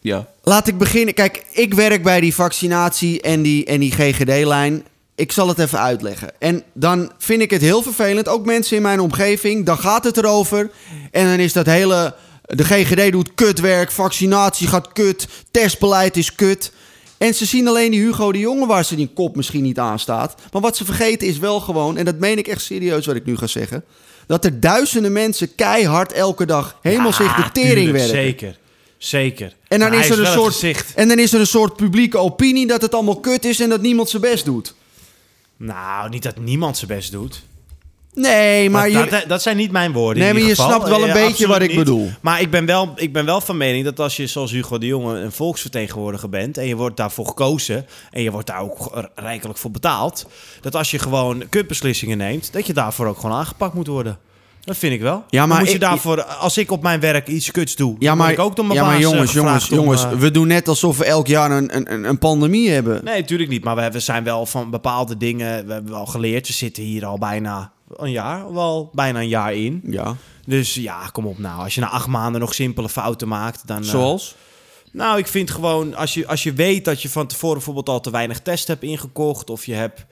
[SPEAKER 4] Ja.
[SPEAKER 2] Laat ik beginnen. Kijk, ik werk bij die vaccinatie en die, en die GGD-lijn. Ik zal het even uitleggen. En dan vind ik het heel vervelend. Ook mensen in mijn omgeving, dan gaat het erover. En dan is dat hele... De GGD doet kutwerk, vaccinatie gaat kut, testbeleid is kut. En ze zien alleen die Hugo de Jonge waar ze die kop misschien niet aan staat. Maar wat ze vergeten is wel gewoon, en dat meen ik echt serieus wat ik nu ga zeggen... dat er duizenden mensen keihard elke dag helemaal zich de tering
[SPEAKER 1] Ah, tuurlijk,
[SPEAKER 2] werken.
[SPEAKER 1] Zeker, zeker.
[SPEAKER 2] En dan,
[SPEAKER 1] Maar
[SPEAKER 2] is
[SPEAKER 1] hij
[SPEAKER 2] er een
[SPEAKER 1] wel
[SPEAKER 2] soort,
[SPEAKER 1] het gezicht.
[SPEAKER 2] en dan is er een soort publieke opinie dat het allemaal kut is en dat niemand zijn best doet.
[SPEAKER 1] Nou, niet dat niemand zijn best doet.
[SPEAKER 2] Nee, maar,
[SPEAKER 1] Maar
[SPEAKER 2] jullie-
[SPEAKER 1] dat, dat zijn niet mijn woorden.
[SPEAKER 2] Nee,
[SPEAKER 1] in
[SPEAKER 2] maar
[SPEAKER 1] ieder
[SPEAKER 2] je
[SPEAKER 1] geval.
[SPEAKER 2] snapt wel een
[SPEAKER 1] Eh,
[SPEAKER 2] beetje
[SPEAKER 1] absoluut
[SPEAKER 2] wat ik
[SPEAKER 1] niet.
[SPEAKER 2] bedoel.
[SPEAKER 1] Maar ik ben, wel, ik ben wel van mening dat als je zoals Hugo de Jonge een volksvertegenwoordiger bent... en je wordt daarvoor gekozen en je wordt daar ook r- rijkelijk voor betaald... dat als je gewoon kutbeslissingen neemt, dat je daarvoor ook gewoon aangepakt moet worden. Dat vind ik wel.
[SPEAKER 2] Ja,
[SPEAKER 1] Dan
[SPEAKER 2] maar
[SPEAKER 1] moet je
[SPEAKER 2] ik-
[SPEAKER 1] daarvoor, als ik op mijn werk iets kuts doe,
[SPEAKER 2] ja,
[SPEAKER 1] dan
[SPEAKER 2] maar,
[SPEAKER 1] word ik ook door mijn
[SPEAKER 2] ja, maar
[SPEAKER 1] baas, eh,
[SPEAKER 2] jongens, jongens,
[SPEAKER 1] gevraagd om,
[SPEAKER 2] jongens,
[SPEAKER 1] eh,
[SPEAKER 2] we doen net alsof we elk jaar een, een, een- een pandemie hebben.
[SPEAKER 1] Nee, natuurlijk niet. Maar we, we zijn wel van bepaalde dingen. We hebben wel geleerd. We zitten hier al bijna een jaar. Wel bijna een jaar in.
[SPEAKER 2] Ja,
[SPEAKER 1] Dus ja, kom op nou. Als je na acht maanden nog simpele fouten maakt, dan. eh,
[SPEAKER 2] zoals?
[SPEAKER 1] nou, ik vind gewoon. Als je, als je weet dat je van tevoren bijvoorbeeld al te weinig test hebt ingekocht. Of je hebt.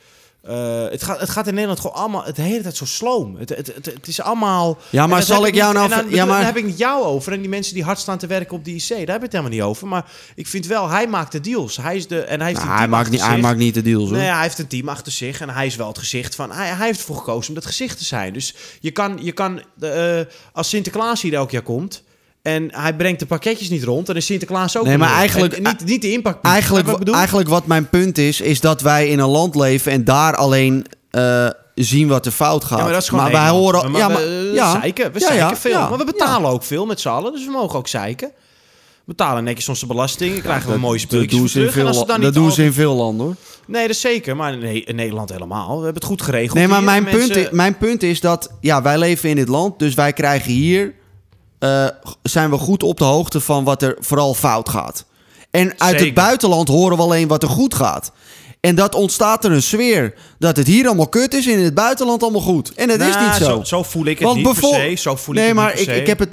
[SPEAKER 1] eh, het, gaat, het gaat in Nederland gewoon allemaal het de hele tijd zo sloom. Het, het, het, het is allemaal.
[SPEAKER 2] Ja,
[SPEAKER 1] en
[SPEAKER 2] maar
[SPEAKER 1] dat
[SPEAKER 2] zal
[SPEAKER 1] heb
[SPEAKER 2] ik jou
[SPEAKER 1] niet-
[SPEAKER 2] nou
[SPEAKER 1] en
[SPEAKER 2] ver-
[SPEAKER 1] Dan,
[SPEAKER 2] ja,
[SPEAKER 1] ja,
[SPEAKER 2] maar-
[SPEAKER 1] maar... dan heb ik niet jou over en die mensen die hard staan te werken op de IC. Daar heb ik het helemaal niet over. Maar ik vind wel, hij maakt de deals. Hij is de. En hij heeft
[SPEAKER 2] Nou,
[SPEAKER 1] een
[SPEAKER 2] hij,
[SPEAKER 1] team
[SPEAKER 2] maakt
[SPEAKER 1] achter
[SPEAKER 2] niet, hij
[SPEAKER 1] zich.
[SPEAKER 2] maakt niet de deals hoor.
[SPEAKER 1] Nee, Nou hij heeft een team achter zich en hij is wel het gezicht van. Hij, hij heeft ervoor gekozen om dat gezicht te zijn. Dus je kan, je kan eh, eh, als Sinterklaas hier elk jaar komt. En hij brengt de pakketjes niet rond. Dan is Sinterklaas ook
[SPEAKER 2] Nee, maar
[SPEAKER 1] niet rond.
[SPEAKER 2] eigenlijk-
[SPEAKER 1] En niet, niet de impact.
[SPEAKER 2] Eigenlijk,
[SPEAKER 1] Snap je wat ik bedoel?
[SPEAKER 2] eigenlijk wat mijn punt is, is dat wij in een land leven en daar alleen eh, zien wat er fout gaat.
[SPEAKER 1] Ja, maar dat is gewoon
[SPEAKER 2] wij
[SPEAKER 1] Nederland.
[SPEAKER 2] horen...
[SPEAKER 1] Maar-
[SPEAKER 2] ja,
[SPEAKER 1] maar
[SPEAKER 2] maar,
[SPEAKER 1] we, eh,
[SPEAKER 2] ja.
[SPEAKER 1] zeiken. We
[SPEAKER 2] Ja, ja,
[SPEAKER 1] zeiken veel.
[SPEAKER 2] ja,
[SPEAKER 1] maar we betalen ook veel met z'n allen. Dus we mogen ook zeiken. We betalen netjes onze belasting. Dan krijgen we mooie
[SPEAKER 2] ja. Dat
[SPEAKER 1] spulletjes voor
[SPEAKER 2] doen ze in
[SPEAKER 1] terug. En
[SPEAKER 2] veel
[SPEAKER 1] als het dan
[SPEAKER 2] landen-
[SPEAKER 1] niet
[SPEAKER 2] dat doen ze
[SPEAKER 1] altijd-
[SPEAKER 2] in veel landen hoor.
[SPEAKER 1] Nee, dat is zeker. Maar nee, in Nederland helemaal. We hebben het goed geregeld.
[SPEAKER 2] Nee, maar
[SPEAKER 1] hier.
[SPEAKER 2] mijn,
[SPEAKER 1] Mensen-
[SPEAKER 2] punt is, mijn punt is dat ja, wij leven in dit land, dus wij krijgen hier. eh, g- zijn we goed op de hoogte van wat er vooral fout gaat. En uit het
[SPEAKER 1] Zeker.
[SPEAKER 2] buitenland horen we alleen wat er goed gaat. En dat ontstaat er een sfeer dat het hier allemaal kut is en in het buitenland allemaal goed. En dat is
[SPEAKER 1] Nou,
[SPEAKER 2] niet zo.
[SPEAKER 1] zo. voel ik het niet
[SPEAKER 2] bijvoor-
[SPEAKER 1] per se. Zo voel
[SPEAKER 2] nee,
[SPEAKER 1] ik het
[SPEAKER 2] maar
[SPEAKER 1] niet per
[SPEAKER 2] ik,
[SPEAKER 1] se.
[SPEAKER 2] ik heb het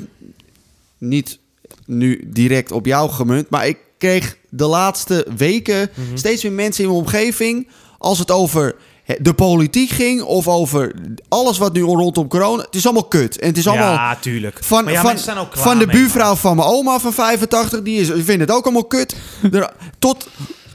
[SPEAKER 2] niet nu direct op jou gemunt. Maar ik kreeg de laatste weken
[SPEAKER 1] Mhm.
[SPEAKER 2] steeds meer mensen in mijn omgeving. Als het over he- de politiek ging of over alles wat nu rondom corona. Het is allemaal kut. En het is allemaal.
[SPEAKER 1] Ja, tuurlijk.
[SPEAKER 2] Van,
[SPEAKER 1] maar ja,
[SPEAKER 2] van,
[SPEAKER 1] mensen zijn ook klaar
[SPEAKER 2] van de
[SPEAKER 1] mee.
[SPEAKER 2] buurvrouw van mijn oma van 85, die is, vindt het ook allemaal kut. Er- tot,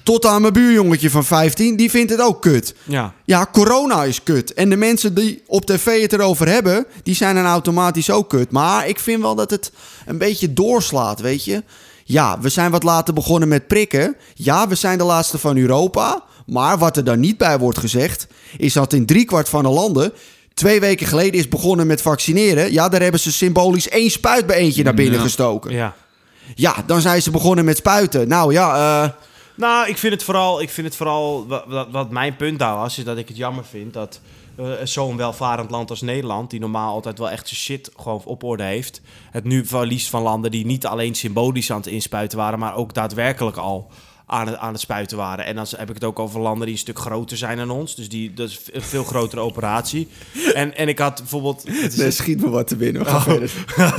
[SPEAKER 2] tot aan mijn buurjongetje van 15, die vindt het ook kut.
[SPEAKER 1] Ja.
[SPEAKER 2] Ja, corona is kut. En de mensen die op tv het erover hebben, die zijn dan automatisch ook kut. Maar ik vind wel dat het een beetje doorslaat, weet je. Ja, we zijn wat later begonnen met prikken. Ja, we zijn de laatste van Europa. Maar wat er dan niet bij wordt gezegd, is dat in driekwart van de landen twee weken geleden is begonnen met vaccineren. Ja, daar hebben ze symbolisch één spuit bij eentje naar binnen gestoken.
[SPEAKER 1] ja.
[SPEAKER 2] Ja, dan zijn ze begonnen met spuiten. Nou ja, eh,
[SPEAKER 1] Nou, ik vind het vooral, ik vind het vooral wa- wa- wat, mijn punt daar was, is dat ik het jammer vind dat eh, zo'n welvarend land als Nederland, die normaal altijd wel echt zijn shit gewoon op orde heeft, het nu verliest van landen die niet alleen symbolisch aan het inspuiten waren, maar ook daadwerkelijk al aan het, aan het spuiten waren. En dan heb ik het ook over landen die een stuk groter zijn dan ons, dus die, dat is een veel grotere operatie. En, en ik had bijvoorbeeld... het is-
[SPEAKER 2] nee, Eh, schiet me wat te binnen. We gaan verder.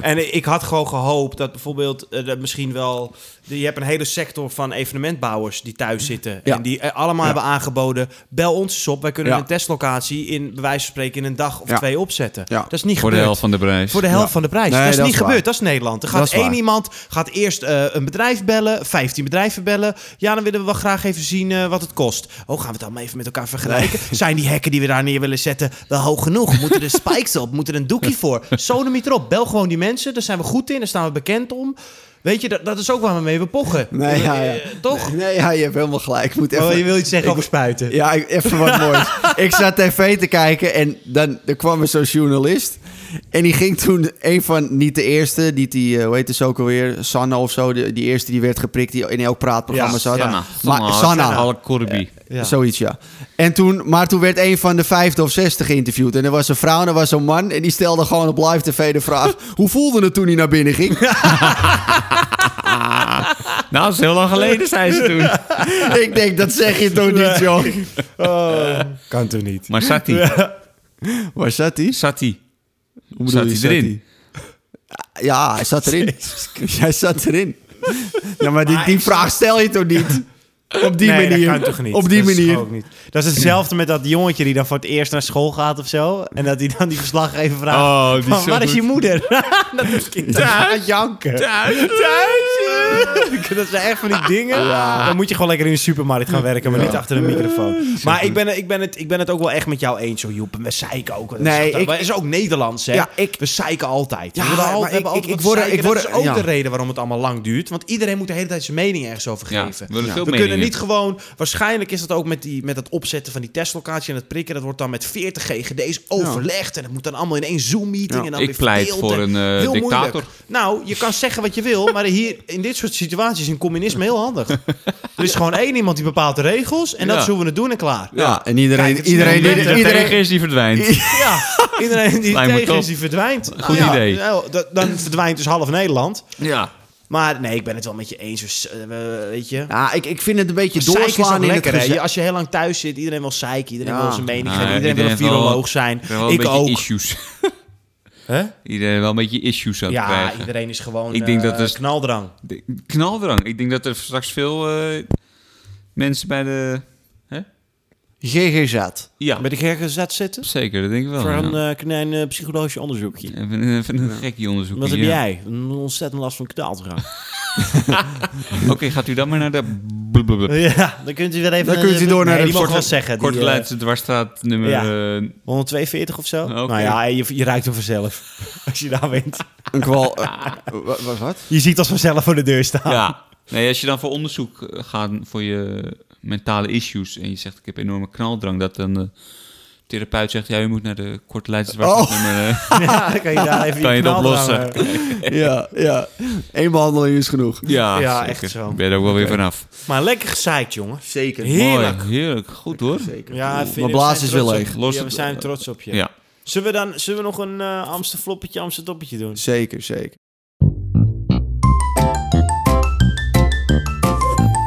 [SPEAKER 1] en ik had gewoon gehoopt dat bijvoorbeeld eh, dat misschien wel. Je hebt een hele sector van evenementbouwers die thuis zitten.
[SPEAKER 2] Mhm. Ja.
[SPEAKER 1] En die eh, allemaal hebben aangeboden. Bel ons eens op. Wij kunnen
[SPEAKER 2] Ja.
[SPEAKER 1] een testlocatie in bij wijze van spreken in een dag of
[SPEAKER 2] Ja.
[SPEAKER 1] twee opzetten.
[SPEAKER 2] Ja.
[SPEAKER 1] Dat is niet
[SPEAKER 4] Voor de
[SPEAKER 1] gebeurd.
[SPEAKER 4] helft van de prijs.
[SPEAKER 1] Voor de helft
[SPEAKER 2] Ja.
[SPEAKER 1] van de prijs.
[SPEAKER 2] Nee,
[SPEAKER 1] dat is
[SPEAKER 2] dat
[SPEAKER 1] niet
[SPEAKER 2] is
[SPEAKER 1] gebeurd.
[SPEAKER 2] waar.
[SPEAKER 1] Dat is Nederland. Er
[SPEAKER 2] Dat
[SPEAKER 1] gaat
[SPEAKER 2] is waar.
[SPEAKER 1] één iemand gaat eerst eh, een bedrijf bellen, 15 bedrijven bellen. Ja, dan willen we wel graag even zien eh, wat het kost. Oh, gaan we het allemaal even met elkaar vergelijken? Zijn die hekken die we daar neer willen zetten wel hoog genoeg? Moeten er spikes op? Moet er een doekje voor? Sodomiet erop. Bel gewoon die mensen. Daar zijn we goed in. Daar staan we bekend om. Weet je, dat, dat is ook waar we mee we pochen.
[SPEAKER 2] Nee, ja, ja.
[SPEAKER 1] Eh, toch?
[SPEAKER 2] Nee, ja, je hebt helemaal gelijk. Ik moet even,
[SPEAKER 1] Oh, je wil iets zeggen
[SPEAKER 2] Ik-
[SPEAKER 1] over spuiten.
[SPEAKER 2] Ja, ik- even wat moois. ik zat tv te kijken en dan er kwam er zo'n journalist. En die ging toen, een van, niet de eerste, niet die, eh, hoe heet ze ook alweer, Sanna of zo, de- die eerste die werd geprikt, die in elk praatprogramma
[SPEAKER 1] Ja,
[SPEAKER 2] zat.
[SPEAKER 4] Sanna.
[SPEAKER 2] Maar, Sanna,
[SPEAKER 4] Al Corby.
[SPEAKER 1] Ja.
[SPEAKER 2] zoiets ja. En toen, maar toen werd een van de vijfde of zestig geïnterviewd. En er was een vrouw en er was een man en die stelde gewoon op live tv de vraag, hoe voelde het toen hij naar binnen ging?
[SPEAKER 4] Nou, dat is heel lang geleden, zei ze toen.
[SPEAKER 2] Ik denk, dat zeg je toch niet, joh.
[SPEAKER 1] Kan toch niet?
[SPEAKER 4] Maar zat hij?
[SPEAKER 2] Waar zat hij?
[SPEAKER 4] Zat hij?
[SPEAKER 2] Hoe
[SPEAKER 4] Zat
[SPEAKER 2] je,
[SPEAKER 4] hij erin?
[SPEAKER 2] hij? Ah, Ja, hij zat erin. Hij zat erin. Ja, maar die, die vraag stel je toch niet? Op die
[SPEAKER 1] nee,
[SPEAKER 2] manier.
[SPEAKER 1] dat kan toch niet?
[SPEAKER 2] Op die
[SPEAKER 1] Dat is
[SPEAKER 2] manier.
[SPEAKER 1] gewoon ook niet. Dat is hetzelfde met dat jongetje die dan voor het eerst naar school gaat of zo. En dat hij dan die verslaggever vraagt.
[SPEAKER 4] Oh, die is
[SPEAKER 1] "Van,
[SPEAKER 4] zo
[SPEAKER 1] waar is
[SPEAKER 4] goed.
[SPEAKER 1] je moeder? Nou, dat is het kind. Gaat janken. Dat zijn echt van die dingen. Dan moet je gewoon lekker in de supermarkt gaan werken, maar niet achter een microfoon. Maar ik ben, ik, ben het, ik ben het ook wel echt met jou eens, hoor, Joep. En We zeiken ook. Dat
[SPEAKER 2] Nee,
[SPEAKER 1] is, dat
[SPEAKER 2] ik-
[SPEAKER 1] is ook Nederlands, hè?
[SPEAKER 2] Ja, ik-
[SPEAKER 1] we zeiken altijd.
[SPEAKER 2] Ja,
[SPEAKER 1] we hebben al-
[SPEAKER 2] maar
[SPEAKER 1] we hebben
[SPEAKER 2] ik-
[SPEAKER 1] altijd
[SPEAKER 2] ik-
[SPEAKER 1] wat
[SPEAKER 2] ik word-
[SPEAKER 1] te zeiken.
[SPEAKER 2] ik word-
[SPEAKER 1] dat is ook
[SPEAKER 2] ja.
[SPEAKER 1] de reden waarom het allemaal lang duurt. Want iedereen moet de hele tijd zijn mening ergens over
[SPEAKER 4] Ja,
[SPEAKER 1] geven.
[SPEAKER 4] we willen veel
[SPEAKER 1] we kunnen
[SPEAKER 4] meningen.
[SPEAKER 1] niet gewoon... Waarschijnlijk is dat ook met, die, met het opzetten van die testlocatie en het prikken. Dat wordt dan met 40 GGD's overlegd. En dat moet dan allemaal in één Zoom-meeting.
[SPEAKER 2] Ja.
[SPEAKER 1] en dan
[SPEAKER 4] Ik
[SPEAKER 1] weer
[SPEAKER 4] pleit
[SPEAKER 1] verdeeld
[SPEAKER 4] voor
[SPEAKER 1] en
[SPEAKER 4] een, eh,
[SPEAKER 1] heel moeilijk.
[SPEAKER 4] dictator.
[SPEAKER 1] Nou, je kan zeggen wat je wil, maar hier in dit soort situaties is in communisme heel handig. Er is gewoon één iemand die bepaalt de regels en dat
[SPEAKER 4] Ja.
[SPEAKER 1] is hoe we het doen en klaar.
[SPEAKER 2] Ja, en iedereen...
[SPEAKER 1] Kijk, het is
[SPEAKER 2] iedereen,
[SPEAKER 1] net-
[SPEAKER 2] iedereen,
[SPEAKER 4] Iedereen, iedereen is die verdwijnt.
[SPEAKER 1] Ja, iedereen die
[SPEAKER 4] Lijkt me
[SPEAKER 1] tegen
[SPEAKER 4] top.
[SPEAKER 1] is, die verdwijnt.
[SPEAKER 4] Goed
[SPEAKER 1] Ja,
[SPEAKER 4] idee.
[SPEAKER 1] nou, dat- Dan verdwijnt dus half Nederland.
[SPEAKER 4] Ja.
[SPEAKER 1] Maar nee, ik ben het wel met je eens. Dus, eh, we- weet je.
[SPEAKER 2] Ja, ik, ik vind het een beetje
[SPEAKER 1] Zeiken is
[SPEAKER 2] doorslaan
[SPEAKER 1] toch
[SPEAKER 2] in
[SPEAKER 1] lekker,
[SPEAKER 2] het
[SPEAKER 1] hè?
[SPEAKER 2] gezin.
[SPEAKER 1] Je- Als je heel lang thuis zit, iedereen wil zeiken, iedereen
[SPEAKER 2] Ja.
[SPEAKER 1] wil zijn mening
[SPEAKER 4] Ah,
[SPEAKER 1] geven, iedereen, wil
[SPEAKER 4] iedereen
[SPEAKER 1] een
[SPEAKER 4] wel-
[SPEAKER 1] viroloog zijn.
[SPEAKER 4] wel een
[SPEAKER 1] Ik
[SPEAKER 4] beetje
[SPEAKER 1] ook.
[SPEAKER 4] issues.
[SPEAKER 1] Hè?
[SPEAKER 4] Iedereen wel een beetje issues aan het
[SPEAKER 1] Ja,
[SPEAKER 4] krijgen.
[SPEAKER 1] iedereen is gewoon
[SPEAKER 4] Ik denk dat
[SPEAKER 1] eh,
[SPEAKER 4] dus-
[SPEAKER 1] knaldrang.
[SPEAKER 4] De- Knaldrang. Ik denk dat er straks veel eh, mensen bij de...
[SPEAKER 2] GG zat.
[SPEAKER 4] Ja,
[SPEAKER 1] Ben ik ergens zat zitten?
[SPEAKER 4] zeker. Dat denk ik wel.
[SPEAKER 1] Voor
[SPEAKER 4] Oh, ja.
[SPEAKER 1] een eh, klein eh, psychologisch onderzoekje.
[SPEAKER 4] Even, even een gekkie onderzoek.
[SPEAKER 1] eh, Wat heb
[SPEAKER 4] hier, ja.
[SPEAKER 1] jij? Een ontzettend last van knaldrang.
[SPEAKER 4] Oké, gaat u dan maar naar de... blablabla.
[SPEAKER 1] Ja, dan kunt u wel even... eh,
[SPEAKER 2] Dan kunt u door naar
[SPEAKER 1] nee,
[SPEAKER 2] de
[SPEAKER 1] die mogen
[SPEAKER 2] korte-
[SPEAKER 1] wel zeggen. die,
[SPEAKER 4] Korte
[SPEAKER 1] eh,
[SPEAKER 4] Leidse dwarsstraat nummer...
[SPEAKER 1] Ja.
[SPEAKER 4] eh,
[SPEAKER 1] 142 of zo?
[SPEAKER 4] Oh, Oké.
[SPEAKER 1] Nou ja, je, je ruikt hem vanzelf. Als je daar wint.
[SPEAKER 2] Een kwal... eh, wa- wa- wat?
[SPEAKER 1] Je ziet als vanzelf voor de deur staan.
[SPEAKER 4] ja. Nee, als je dan voor onderzoek eh, gaat voor je mentale issues en je zegt ik heb enorme knaldrang, dat dan de therapeut zegt ja, je moet naar de korte Leidse dwarsstraat nummer... eh.
[SPEAKER 1] Ja, dan kan je daar even
[SPEAKER 4] Kan je het
[SPEAKER 1] Oh. knaldrang,
[SPEAKER 4] oplossen?
[SPEAKER 1] eh,
[SPEAKER 2] Ja, ja. Eén behandeling is genoeg.
[SPEAKER 4] ja,
[SPEAKER 1] Ja,
[SPEAKER 4] zeker.
[SPEAKER 1] echt zo.
[SPEAKER 4] Ben je er ook wel weer vanaf.
[SPEAKER 1] Maar lekker gezaaid, jongen.
[SPEAKER 2] Zeker.
[SPEAKER 1] Heerlijk.
[SPEAKER 4] Mooi, heerlijk. Goed hoor.
[SPEAKER 2] Zeker.
[SPEAKER 1] Ja, vind-
[SPEAKER 2] Mijn
[SPEAKER 1] we
[SPEAKER 2] blaas
[SPEAKER 1] zijn
[SPEAKER 2] is weer
[SPEAKER 1] trots
[SPEAKER 2] leeg.
[SPEAKER 1] op-
[SPEAKER 4] Los
[SPEAKER 1] ja, we
[SPEAKER 4] het-
[SPEAKER 1] zijn trots op je.
[SPEAKER 4] Ja.
[SPEAKER 1] Zullen, we dan, zullen we nog een eh Amsterfloppetje, Amstertoppetje doen?
[SPEAKER 2] Zeker, zeker.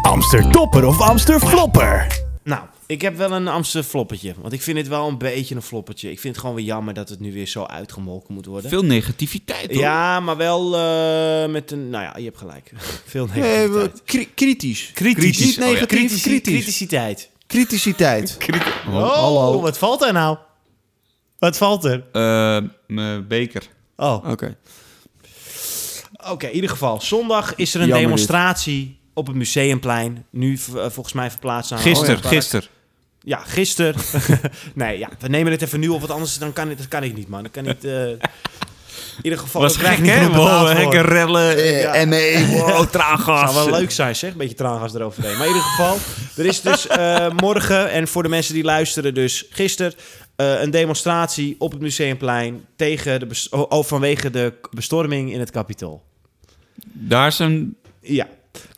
[SPEAKER 5] Amsterdopper of Amsterflopper?
[SPEAKER 1] Nou, ik heb wel een Amsterfloppetje. Want ik vind het wel een beetje een floppertje. Ik vind het gewoon weer jammer dat het nu weer zo uitgemolken moet worden.
[SPEAKER 4] Veel negativiteit hoor.
[SPEAKER 1] ja, maar wel eh, met een... Nou ja, je hebt gelijk. Veel
[SPEAKER 2] Nee,
[SPEAKER 1] negativiteit.
[SPEAKER 2] Eh, we- kri- kritisch.
[SPEAKER 1] Kritisch. oh
[SPEAKER 2] Niet negatief,
[SPEAKER 1] Kritici-
[SPEAKER 2] kritisch.
[SPEAKER 1] Kriticiteit.
[SPEAKER 2] Kriticiteit.
[SPEAKER 1] Oh, wat valt er nou? Wat valt er?
[SPEAKER 4] Eh, mijn beker.
[SPEAKER 1] Oh,
[SPEAKER 2] Oké.
[SPEAKER 1] oké. in ieder geval. Zondag is er een
[SPEAKER 2] Jammer dit.
[SPEAKER 1] demonstratie op het museumplein. Nu eh, volgens mij verplaatst naar...
[SPEAKER 4] Gisteren,
[SPEAKER 1] Oh, ja.
[SPEAKER 4] gisteren.
[SPEAKER 1] Ja, gisteren. nee, ja, we nemen het even nu op, want anders dan kan, ik- dat kan ik niet, man. Dat kan niet... eh, In ieder geval,
[SPEAKER 4] Was
[SPEAKER 1] we krijgen
[SPEAKER 4] gek,
[SPEAKER 1] niet
[SPEAKER 4] hè?
[SPEAKER 1] genoeg betaald
[SPEAKER 4] Wow,
[SPEAKER 1] voor.
[SPEAKER 4] hekken rellen.
[SPEAKER 2] En mee.
[SPEAKER 4] Wow, traangas.
[SPEAKER 1] Zou wel leuk zijn, zeg. Beetje traangas eroverheen. Maar in ieder geval, er is dus eh, morgen, en voor de mensen die luisteren, dus gisteren, eh, een demonstratie op het Museumplein tegen de bes- oh, oh, vanwege de k- bestorming in het kapitool.
[SPEAKER 4] Daar zijn
[SPEAKER 1] Ja.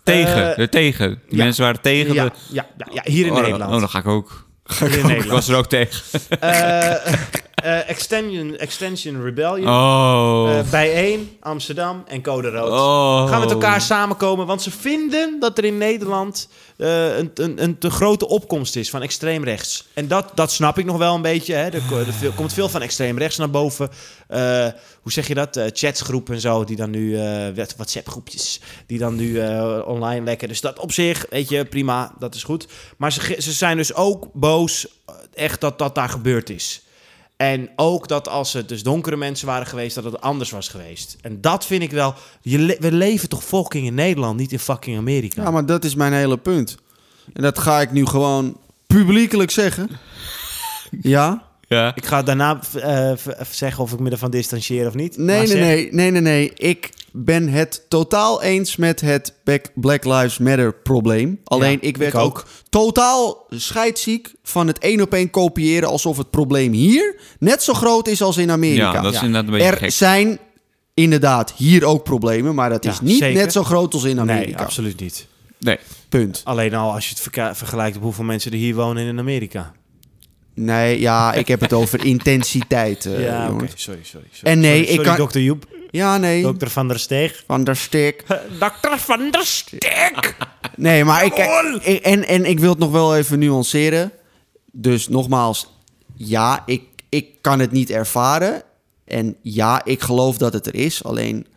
[SPEAKER 4] tegen.
[SPEAKER 1] Eh,
[SPEAKER 4] er tegen. Die
[SPEAKER 1] ja.
[SPEAKER 4] mensen waren tegen.
[SPEAKER 1] ja,
[SPEAKER 4] de...
[SPEAKER 1] ja, ja, ja, hier in
[SPEAKER 4] oh,
[SPEAKER 1] Nederland.
[SPEAKER 4] Oh, dan ga ik ook.
[SPEAKER 1] Hier in
[SPEAKER 4] Ik
[SPEAKER 1] Nederland.
[SPEAKER 4] was er ook tegen.
[SPEAKER 1] Eh, eh, extension, extension Rebellion.
[SPEAKER 4] Oh.
[SPEAKER 1] eh, bijeen, Amsterdam en Code Rood.
[SPEAKER 4] oh.
[SPEAKER 1] Gaan we met elkaar samenkomen? Want ze vinden dat er in Nederland eh, een, een, een te grote opkomst is van extreem rechts. En dat, dat snap ik nog wel een beetje. Hè. Er, ko- er veel- komt veel van extreem rechts naar boven. Eh, hoe zeg je dat? Eh, chatsgroepen en zo, die dan nu. eh WhatsApp-groepjes, die dan nu eh, online lekker. Dus dat op zich, weet je, prima, dat is goed. Maar ze, ge- ze zijn dus ook boos, eh, echt dat dat daar gebeurd is. En ook dat als het dus donkere mensen waren geweest, dat het anders was geweest. En dat vind ik wel. Je le- we leven toch fucking in Nederland, niet in fucking Amerika.
[SPEAKER 2] Ja, maar dat is mijn hele punt. En dat ga ik nu gewoon publiekelijk zeggen. Ja?
[SPEAKER 4] Ja.
[SPEAKER 1] Ik ga daarna eh, v- eh, zeggen of ik me ervan distanceer of niet.
[SPEAKER 2] Nee,
[SPEAKER 1] Maar
[SPEAKER 2] nee,
[SPEAKER 1] zeg-
[SPEAKER 2] nee, nee, nee, nee. Ik ben het totaal eens met het Back- Black Lives Matter probleem. Alleen ik werd
[SPEAKER 1] ik ook.
[SPEAKER 2] ook. totaal scheidziek van het één op één kopiëren alsof het probleem hier net zo groot is als in Amerika.
[SPEAKER 4] Ja, dat is inderdaad een beetje
[SPEAKER 2] er
[SPEAKER 4] gek.
[SPEAKER 2] zijn inderdaad hier ook problemen, maar dat is niet
[SPEAKER 1] zeker.
[SPEAKER 2] net zo groot als in Amerika.
[SPEAKER 1] Nee, absoluut niet.
[SPEAKER 4] Nee.
[SPEAKER 2] Punt.
[SPEAKER 1] Alleen al als je het verka- vergelijkt op hoeveel mensen er hier wonen in Amerika.
[SPEAKER 2] Nee, ja, ik heb het over intensiteit. eh,
[SPEAKER 1] ja, oké.
[SPEAKER 2] jongens.
[SPEAKER 1] Sorry, sorry, sorry.
[SPEAKER 2] En nee,
[SPEAKER 1] Sorry,
[SPEAKER 2] ik
[SPEAKER 1] sorry,
[SPEAKER 2] kan-
[SPEAKER 1] dokter Joep.
[SPEAKER 2] Ja, nee.
[SPEAKER 1] Dokter Van der Steeg.
[SPEAKER 2] Van der Stik.
[SPEAKER 1] Dokter Van der Steeg!
[SPEAKER 2] Nee, maar ik, ik- en, en ik wil het nog wel even nuanceren. Dus nogmaals, ja, ik, ik kan het niet ervaren. En ja, ik geloof dat het er is. Alleen,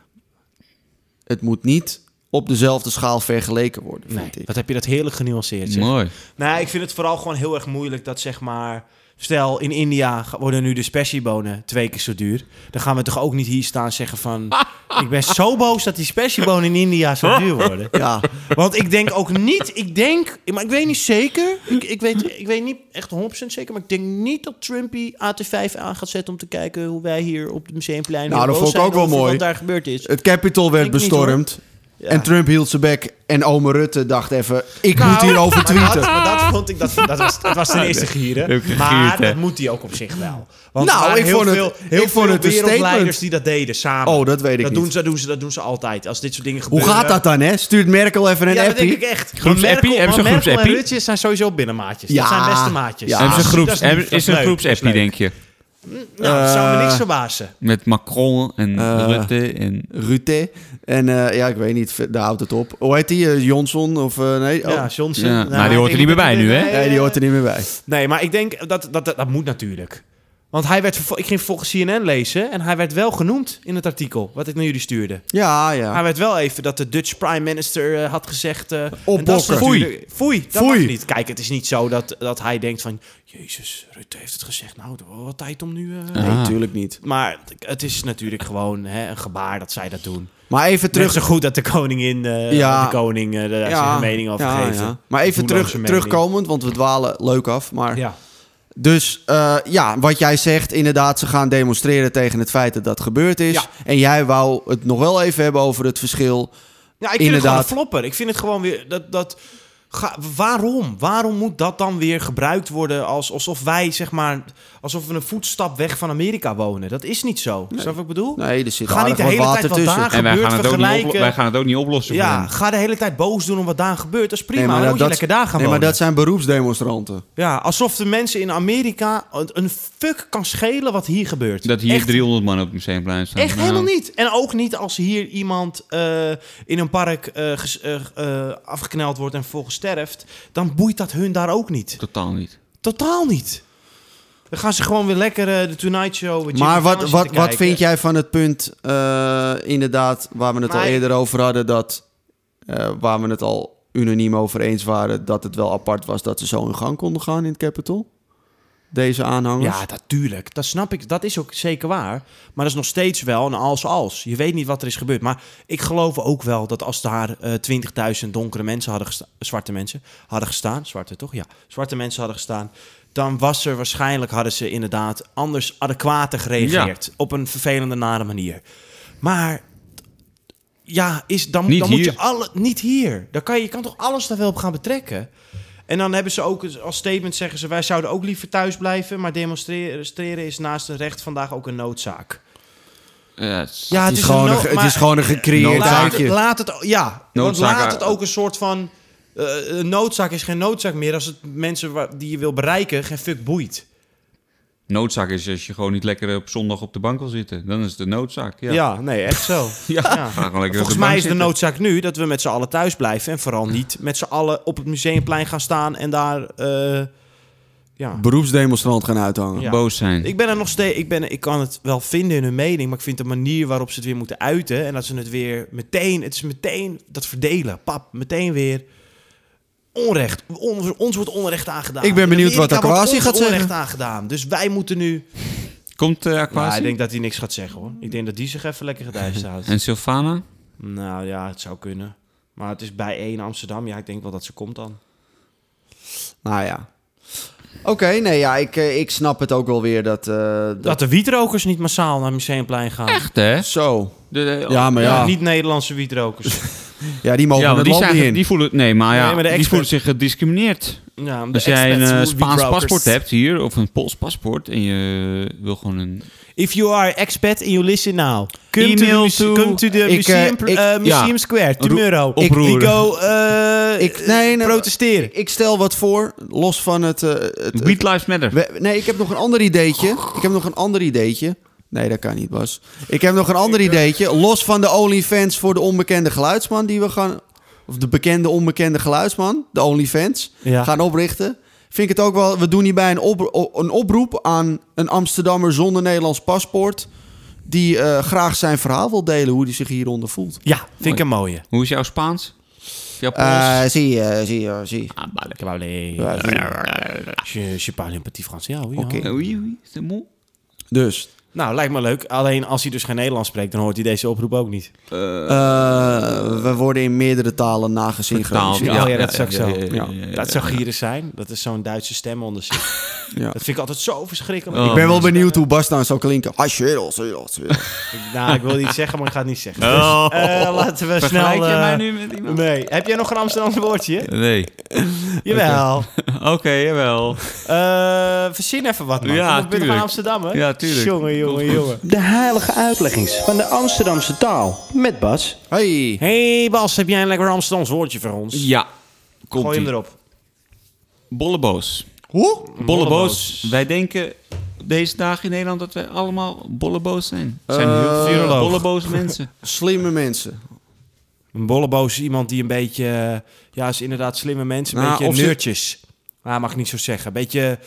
[SPEAKER 2] het moet niet op dezelfde schaal vergeleken worden,
[SPEAKER 1] Nee,
[SPEAKER 2] vind ik.
[SPEAKER 1] wat heb je dat heerlijk genuanceerd, zeg.
[SPEAKER 4] Mooi.
[SPEAKER 1] Nou, ik vind het vooral gewoon heel erg moeilijk dat zeg maar... Stel, in India ga- worden nu de spessiebonen twee keer zo duur. Dan gaan we toch ook niet hier staan zeggen van... ik ben zo boos dat die spessiebonen in India zo duur worden.
[SPEAKER 2] Ja,
[SPEAKER 1] Want ik denk ook niet... Ik denk... Maar ik weet niet zeker. Ik, ik, weet, ik weet niet echt 100% zeker. Maar ik denk niet dat Trumpy AT5 aan gaat zetten... om te kijken hoe wij hier op het museumplein...
[SPEAKER 2] Nou,
[SPEAKER 1] heel
[SPEAKER 2] dat
[SPEAKER 1] boos
[SPEAKER 2] vond ik
[SPEAKER 1] zijn
[SPEAKER 2] ook wel
[SPEAKER 1] over
[SPEAKER 2] mooi. Eh,
[SPEAKER 1] Wat daar gebeurd is.
[SPEAKER 2] het Capitol werd
[SPEAKER 1] Ik niet,
[SPEAKER 2] bestormd.
[SPEAKER 1] Ja.
[SPEAKER 2] En Trump hield zijn bek. En ome Rutte dacht even, ik
[SPEAKER 1] Nou,
[SPEAKER 2] moet hierover
[SPEAKER 1] Maar dat,
[SPEAKER 2] tweeten.
[SPEAKER 1] maar dat vond ik, dat, dat was, dat was ten eerste gieren.
[SPEAKER 4] Ook gegierd,
[SPEAKER 1] maar
[SPEAKER 4] hè?
[SPEAKER 1] dat moet hij ook op zich wel. Want
[SPEAKER 2] Nou,
[SPEAKER 1] er waren
[SPEAKER 2] ik
[SPEAKER 1] heel
[SPEAKER 2] vond het-
[SPEAKER 1] veel,
[SPEAKER 2] ik
[SPEAKER 1] heel
[SPEAKER 2] vond
[SPEAKER 1] veel
[SPEAKER 2] het een
[SPEAKER 1] wereldleiders
[SPEAKER 2] statement.
[SPEAKER 1] die dat deden samen.
[SPEAKER 2] Oh, dat weet ik
[SPEAKER 1] dat
[SPEAKER 2] niet.
[SPEAKER 1] Doen ze, dat, doen ze, dat doen ze altijd. Als dit soort dingen
[SPEAKER 2] Hoe
[SPEAKER 1] gebeuren.
[SPEAKER 2] gaat dat dan, hè? Stuurt Merkel even een
[SPEAKER 1] Ja, dat denk
[SPEAKER 2] appie?
[SPEAKER 1] ik echt.
[SPEAKER 4] Groepsappie?
[SPEAKER 1] Want Merkel-
[SPEAKER 4] Hebben ze een
[SPEAKER 1] want Merkel
[SPEAKER 4] groepsappie?
[SPEAKER 1] en Rutje zijn sowieso binnenmaatjes.
[SPEAKER 2] Ja.
[SPEAKER 1] Dat zijn beste maatjes.
[SPEAKER 2] Ja.
[SPEAKER 1] Dat
[SPEAKER 4] Hebben ze een
[SPEAKER 1] dat
[SPEAKER 4] groeps,
[SPEAKER 1] niet-
[SPEAKER 4] hebben-
[SPEAKER 1] dat
[SPEAKER 4] is er een
[SPEAKER 1] leuk,
[SPEAKER 4] groepsappie,
[SPEAKER 1] dat is
[SPEAKER 4] denk
[SPEAKER 1] leuk.
[SPEAKER 4] je?
[SPEAKER 1] Nou, dat zou me niks
[SPEAKER 2] Eh,
[SPEAKER 1] verbazen.
[SPEAKER 4] Met Macron en
[SPEAKER 2] Eh.
[SPEAKER 4] Rutte en...
[SPEAKER 2] Rutte. En eh, ja, ik weet niet, daar houdt het op. Hoe heet die? eh, Johnson of eh, nee? Oh,
[SPEAKER 1] Ja, Johnson.
[SPEAKER 4] Ja,
[SPEAKER 1] Nou,
[SPEAKER 4] maar die hoort er niet meer bij nu, hè?
[SPEAKER 2] nee, die hoort er niet meer bij.
[SPEAKER 1] Nee, maar ik denk dat dat, dat, dat moet natuurlijk. Want hij werd, vervo- ik ging volgens CNN lezen en hij werd wel genoemd in het artikel wat ik naar jullie stuurde.
[SPEAKER 2] Ja, ja.
[SPEAKER 1] Hij werd wel even dat de Dutch prime minister eh, had gezegd... eh, en
[SPEAKER 2] Opbokken.
[SPEAKER 1] dat is natuurlijk- Foei, dat
[SPEAKER 2] Foei.
[SPEAKER 1] mag niet. Kijk, het is niet zo dat, dat hij denkt van... Jezus, Rutte heeft het gezegd. Nou, er wordt wel tijd om nu... eh."
[SPEAKER 2] Nee, natuurlijk niet.
[SPEAKER 1] Maar het is natuurlijk gewoon hè, een gebaar dat zij dat doen.
[SPEAKER 2] Maar even
[SPEAKER 1] Terug
[SPEAKER 2] terug...
[SPEAKER 1] zo goed dat de koningin, eh,
[SPEAKER 2] Ja.
[SPEAKER 1] de koning, eh, daar
[SPEAKER 2] ja,
[SPEAKER 1] zijn mening over
[SPEAKER 2] ja,
[SPEAKER 1] geeft.
[SPEAKER 2] ja. Maar even
[SPEAKER 1] Hoe
[SPEAKER 2] terug,
[SPEAKER 1] dan zijn mening.
[SPEAKER 2] terugkomend, want we dwalen leuk af. Maar...
[SPEAKER 1] Ja.
[SPEAKER 2] Dus eh, ja, wat jij zegt, inderdaad, ze gaan demonstreren tegen het feit dat dat gebeurd is.
[SPEAKER 1] Ja.
[SPEAKER 2] En jij wou het nog wel even hebben over het verschil.
[SPEAKER 1] Ja, ik vind het gewoon
[SPEAKER 2] Inderdaad.
[SPEAKER 1] een flopper. Ik vind het gewoon weer dat. dat ga- waarom? Waarom moet dat dan weer gebruikt worden als, alsof wij, zeg maar, alsof we een voetstap weg van Amerika wonen? Dat is niet zo. Snap je wat ik bedoel?
[SPEAKER 2] Nee, er zit
[SPEAKER 1] Ga niet
[SPEAKER 2] aardig
[SPEAKER 1] de
[SPEAKER 2] wat
[SPEAKER 1] hele tijd
[SPEAKER 2] water
[SPEAKER 1] wat
[SPEAKER 2] tussen.
[SPEAKER 1] dagen-
[SPEAKER 4] En wij
[SPEAKER 1] gebeurt
[SPEAKER 4] gaan, het ook niet
[SPEAKER 1] vergelijken.
[SPEAKER 4] oplo- wij gaan het ook niet oplossen. voor
[SPEAKER 1] Ja,
[SPEAKER 4] hem.
[SPEAKER 1] ga de hele tijd boos doen om wat daar gebeurt. Dat is prima.
[SPEAKER 2] Nee,
[SPEAKER 1] maar dan moet je
[SPEAKER 2] dat-
[SPEAKER 1] lekker daar gaan
[SPEAKER 2] nee, maar
[SPEAKER 1] wonen.
[SPEAKER 2] dat zijn beroepsdemonstranten.
[SPEAKER 1] Ja, alsof de mensen in Amerika een- een fuck kan schelen wat hier gebeurt.
[SPEAKER 4] Dat hier
[SPEAKER 1] Echt
[SPEAKER 4] 300 man op het museumplein staan.
[SPEAKER 1] Echt
[SPEAKER 4] Nou,
[SPEAKER 1] helemaal niet. En ook niet als hier iemand eh, in een park eh, ges- eh, eh, afgekneld wordt en volgens sterft. Dan boeit dat hun daar ook niet.
[SPEAKER 4] Totaal niet.
[SPEAKER 1] Totaal niet. Dan gaan ze gewoon weer lekker eh, de Tonight Show. met Jimmy
[SPEAKER 2] Maar wat,
[SPEAKER 1] Fallon
[SPEAKER 2] wat,
[SPEAKER 1] zitten
[SPEAKER 2] wat vind
[SPEAKER 1] kijken.
[SPEAKER 2] jij van het punt, eh, inderdaad, waar we het al
[SPEAKER 1] Maar-
[SPEAKER 2] eerder over hadden, dat eh, waar we het al unaniem over eens waren, dat het wel apart was dat ze zo in gang konden gaan in het Capitol? Deze aanhangers?
[SPEAKER 1] Ja, natuurlijk. Dat snap ik. Dat is ook zeker waar. Maar dat is nog steeds wel een als-als. Je weet niet wat er is gebeurd. Maar ik geloof ook wel dat als daar eh 20.000 donkere mensen hadden gestaan... Zwarte mensen hadden gestaan. Zwarte, toch? Ja. Zwarte mensen hadden gestaan. Dan was er waarschijnlijk, hadden ze inderdaad anders adequater gereageerd. Op een vervelende, nare manier. Maar... Ja, is, dan,
[SPEAKER 4] Niet
[SPEAKER 1] dan moet
[SPEAKER 4] hier.
[SPEAKER 1] je alle... Niet hier. Dan kan je, je kan toch alles daar wel op gaan betrekken? En dan hebben ze ook eens- als statement zeggen ze: wij zouden ook liever thuis blijven, maar demonstreren is naast een recht vandaag ook een noodzaak.
[SPEAKER 4] Ja, het is-
[SPEAKER 2] het, is gewoon een,
[SPEAKER 1] nood-
[SPEAKER 2] ge- het
[SPEAKER 1] maar-
[SPEAKER 2] is gewoon een gecreëerd
[SPEAKER 1] laat,
[SPEAKER 2] zaakje.
[SPEAKER 1] laat het, ja, want
[SPEAKER 4] Noodzaak-
[SPEAKER 1] laat het ook een soort van eh, een noodzaak is geen noodzaak meer als het mensen wa- die je wil bereiken geen fuck boeit.
[SPEAKER 4] Noodzaak is als je gewoon niet lekker op zondag op de bank wil zitten. Dan is het de noodzaak. Ja.
[SPEAKER 1] Ja, nee, echt zo.
[SPEAKER 4] Ja,
[SPEAKER 1] Ja.
[SPEAKER 4] ga gewoon lekker op
[SPEAKER 1] Volgens mij
[SPEAKER 4] bank
[SPEAKER 1] is de
[SPEAKER 4] zitten.
[SPEAKER 1] noodzaak nu dat we met z'n allen thuis blijven en vooral niet met z'n allen op het museumplein gaan staan en daar. eh, ja.
[SPEAKER 2] Beroepsdemonstrant gaan uithangen.
[SPEAKER 1] Ja.
[SPEAKER 4] Boos zijn.
[SPEAKER 1] Ik ben er nog steeds. Ik, ben, ik kan het wel vinden in hun mening. Maar ik vind de manier waarop ze het weer moeten uiten. En dat ze het weer meteen. Het is meteen dat verdelen. Pap, meteen weer. Onrecht. Ons, ons wordt onrecht aangedaan.
[SPEAKER 2] Ik ben
[SPEAKER 1] In
[SPEAKER 2] benieuwd wat
[SPEAKER 1] Amerika wordt
[SPEAKER 2] Akwasi
[SPEAKER 1] ons
[SPEAKER 2] gaat zeggen.
[SPEAKER 1] onrecht aangedaan. Dus wij moeten nu.
[SPEAKER 4] Komt eh
[SPEAKER 1] Maar
[SPEAKER 4] Aquasi?
[SPEAKER 1] ik denk dat hij niks gaat zeggen hoor. Ik denk dat die zich even lekker gedijst houdt.
[SPEAKER 4] En Sylvana?
[SPEAKER 1] nou ja, het zou kunnen. Maar het is bij één Amsterdam. Ja, ik denk wel dat ze komt dan.
[SPEAKER 2] Nou ja. Oké, nee, ja, ik, eh, ik snap het ook wel weer dat... eh, dat...
[SPEAKER 1] Dat de wietrokers niet massaal naar het museumplein gaan.
[SPEAKER 4] Echt hè?
[SPEAKER 2] Zo.
[SPEAKER 4] De, de-
[SPEAKER 2] Ja, maar ja, ja,
[SPEAKER 1] Niet-Nederlandse wietrokers.
[SPEAKER 2] die mogen
[SPEAKER 4] ja, want
[SPEAKER 2] het
[SPEAKER 4] die,
[SPEAKER 2] land niet
[SPEAKER 4] zijn,
[SPEAKER 2] in.
[SPEAKER 4] die voelen, nee, maar ja,
[SPEAKER 1] Nee, maar de
[SPEAKER 4] die
[SPEAKER 1] expert-
[SPEAKER 4] voelen zich gediscrimineerd.
[SPEAKER 1] ja, de
[SPEAKER 4] Als jij een
[SPEAKER 1] expats
[SPEAKER 4] eh,
[SPEAKER 1] will be
[SPEAKER 4] Spaans
[SPEAKER 1] brokers.
[SPEAKER 4] paspoort hebt hier, of een Pools paspoort, en je wil gewoon een...
[SPEAKER 1] If you are expat and you listen now, come to
[SPEAKER 4] Email
[SPEAKER 1] the,
[SPEAKER 4] to-
[SPEAKER 1] muse- come to the
[SPEAKER 2] Ik, eh,
[SPEAKER 1] museum,
[SPEAKER 2] ik-
[SPEAKER 1] eh, museum
[SPEAKER 4] ja.
[SPEAKER 1] square,
[SPEAKER 4] Roe-
[SPEAKER 1] tomorrow. Ik,
[SPEAKER 4] oproeren.
[SPEAKER 1] we go eh,
[SPEAKER 2] Ik- nee, nee,
[SPEAKER 1] protesteren.
[SPEAKER 2] Ik stel wat voor, los van het... eh, het- het-
[SPEAKER 4] Weed Lives Matter.
[SPEAKER 2] we- nee, ik heb nog een ander ideetje. Ik heb nog een ander ideetje. Nee, dat kan niet, Bas. Ik heb nog een ander ideetje. Los van de OnlyFans voor de onbekende geluidsman die we gaan... Of de bekende onbekende geluidsman, de OnlyFans,
[SPEAKER 1] Ja.
[SPEAKER 2] gaan oprichten. Vind ik het ook wel... We doen hierbij een, op- o- een oproep aan een Amsterdammer zonder Nederlands paspoort... die eh, graag zijn verhaal wil delen, hoe hij zich hieronder voelt.
[SPEAKER 1] Ja, vind ik een mooie.
[SPEAKER 4] Hoe is jouw Spaans? Of Jouw Pools?
[SPEAKER 2] Eh, zie je, zie je, zie je.
[SPEAKER 4] ah, vale.
[SPEAKER 1] Ik heb alleen...
[SPEAKER 2] Ja, zie je.
[SPEAKER 1] Je, je parle un petit français, ja, oui,
[SPEAKER 2] Oké.
[SPEAKER 1] ja.
[SPEAKER 4] Oei, oei, is dat moe?
[SPEAKER 2] Dus.
[SPEAKER 1] Nou, lijkt me leuk. Alleen als hij dus geen Nederlands spreekt, dan hoort hij deze oproep ook niet.
[SPEAKER 2] Eh, we worden in meerdere talen nagesynchroniseerd.
[SPEAKER 4] Vertaald, Ja,
[SPEAKER 1] oh ja,
[SPEAKER 4] ja,
[SPEAKER 1] dat zou ik
[SPEAKER 4] ja,
[SPEAKER 1] zo.
[SPEAKER 4] ja, ja, Eh, ja,
[SPEAKER 1] Ja, Dat zou gierig zijn. Dat is zo'n Duitse stem onder zich.
[SPEAKER 2] Ja.
[SPEAKER 1] Dat vind ik altijd zo verschrikkelijk. Dus,
[SPEAKER 4] Oh.
[SPEAKER 2] Ik ben wel benieuwd hoe Bas nou zou klinken. Ah, shit,
[SPEAKER 1] Ik- Nou, ik wil iets zeggen, maar ik ga het niet zeggen.
[SPEAKER 4] Oh.
[SPEAKER 1] Eh, laten we snel...
[SPEAKER 4] Vergelijk je
[SPEAKER 1] eh,
[SPEAKER 4] mij nu met iemand?
[SPEAKER 1] Nee. Heb jij nog een Amsterdamse woordje?
[SPEAKER 4] Nee.
[SPEAKER 1] Jawel.
[SPEAKER 4] Oké, jawel.
[SPEAKER 1] Eh verzin even wat, man.
[SPEAKER 4] Ja,
[SPEAKER 1] ik ben toch
[SPEAKER 4] tuurlijk.
[SPEAKER 1] aan Amsterdam, hè?
[SPEAKER 4] Ja, tuurlijk.
[SPEAKER 1] Jongen, jongen, jongen.
[SPEAKER 6] De heilige uitleggings van de Amsterdamse taal met Bas.
[SPEAKER 2] Hey.
[SPEAKER 1] hey, Bas, heb jij een lekker Amsterdams woordje voor ons?
[SPEAKER 4] Ja. Komt
[SPEAKER 1] Gooi hem erop.
[SPEAKER 4] Bolleboos.
[SPEAKER 2] Hoe?
[SPEAKER 4] Bolleboos. Wij denken deze dagen in Nederland dat wij allemaal bolleboos zijn. Er zijn
[SPEAKER 2] Eh,
[SPEAKER 4] heel veel
[SPEAKER 1] viroloog.
[SPEAKER 4] bolleboos mensen.
[SPEAKER 2] Slimme mensen.
[SPEAKER 1] Een bolleboos is iemand die een beetje... eh, Ja, is inderdaad slimme mensen. Een
[SPEAKER 2] Nou, of
[SPEAKER 1] beetje
[SPEAKER 2] ze-
[SPEAKER 1] neurtjes. Ah, mag ik niet zo zeggen. Een beetje...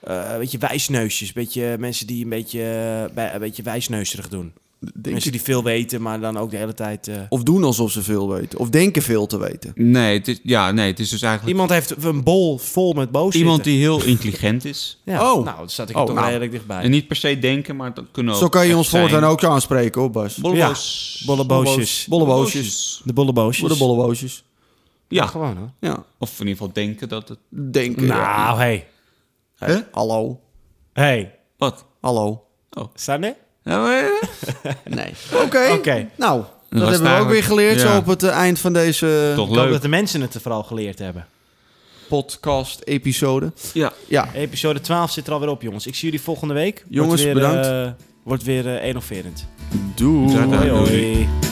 [SPEAKER 1] eh, een beetje wijsneusjes. Een beetje mensen die een beetje, eh, bij- een beetje wijsneuserig doen.
[SPEAKER 2] Denk
[SPEAKER 1] mensen die veel weten, maar dan ook de hele tijd... eh,
[SPEAKER 2] Of doen alsof ze veel weten. Of denken veel te weten.
[SPEAKER 4] Nee, het is, ja, nee, het is dus eigenlijk
[SPEAKER 1] Iemand heeft een bol vol met boos
[SPEAKER 4] iemand
[SPEAKER 1] zitten.
[SPEAKER 4] die heel intelligent is.
[SPEAKER 1] Ja.
[SPEAKER 2] Oh.
[SPEAKER 1] Nou, daar zat ik
[SPEAKER 2] Oh,
[SPEAKER 1] toch
[SPEAKER 2] nou.
[SPEAKER 1] redelijk dichtbij.
[SPEAKER 4] En niet per se denken, maar dat kunnen ook
[SPEAKER 2] Zo kan je
[SPEAKER 4] echt
[SPEAKER 2] ons
[SPEAKER 4] zijn.
[SPEAKER 2] voortaan ook aanspreken, hoor, Bas.
[SPEAKER 4] Bolleboos.
[SPEAKER 1] Bolleboosjes.
[SPEAKER 2] Bolleboosjes.
[SPEAKER 1] De bolleboosjes.
[SPEAKER 2] Voor de bolleboosjes.
[SPEAKER 4] Ja,
[SPEAKER 1] Gewoon, hoor.
[SPEAKER 2] Ja.
[SPEAKER 4] of in ieder geval denken dat het...
[SPEAKER 2] Denken. ja.
[SPEAKER 1] Nou, hey.
[SPEAKER 2] Hè? Hallo.
[SPEAKER 1] Hey.
[SPEAKER 4] Wat?
[SPEAKER 2] Hallo.
[SPEAKER 1] Sanne?
[SPEAKER 4] Nou, eh,
[SPEAKER 2] Nee. Oké.
[SPEAKER 1] Oké.
[SPEAKER 2] Nou, dat hebben we ook
[SPEAKER 4] was eigenlijk-
[SPEAKER 2] weer geleerd
[SPEAKER 4] ja.
[SPEAKER 2] zo op het eh, eind van deze
[SPEAKER 4] Toch
[SPEAKER 1] Ik hoop dat
[SPEAKER 4] leuk.
[SPEAKER 1] de mensen het er vooral geleerd hebben.
[SPEAKER 2] podcast-episode.
[SPEAKER 4] Ja.
[SPEAKER 2] Ja.
[SPEAKER 1] Episode 12 zit er alweer op, jongens. Ik zie jullie volgende week. Wordt
[SPEAKER 2] Jongens,
[SPEAKER 1] weer,
[SPEAKER 2] bedankt.
[SPEAKER 1] eh, wordt weer eh, innoverend.
[SPEAKER 2] Doei.
[SPEAKER 4] Ja,
[SPEAKER 1] Hoi,
[SPEAKER 4] doei.
[SPEAKER 1] hoi.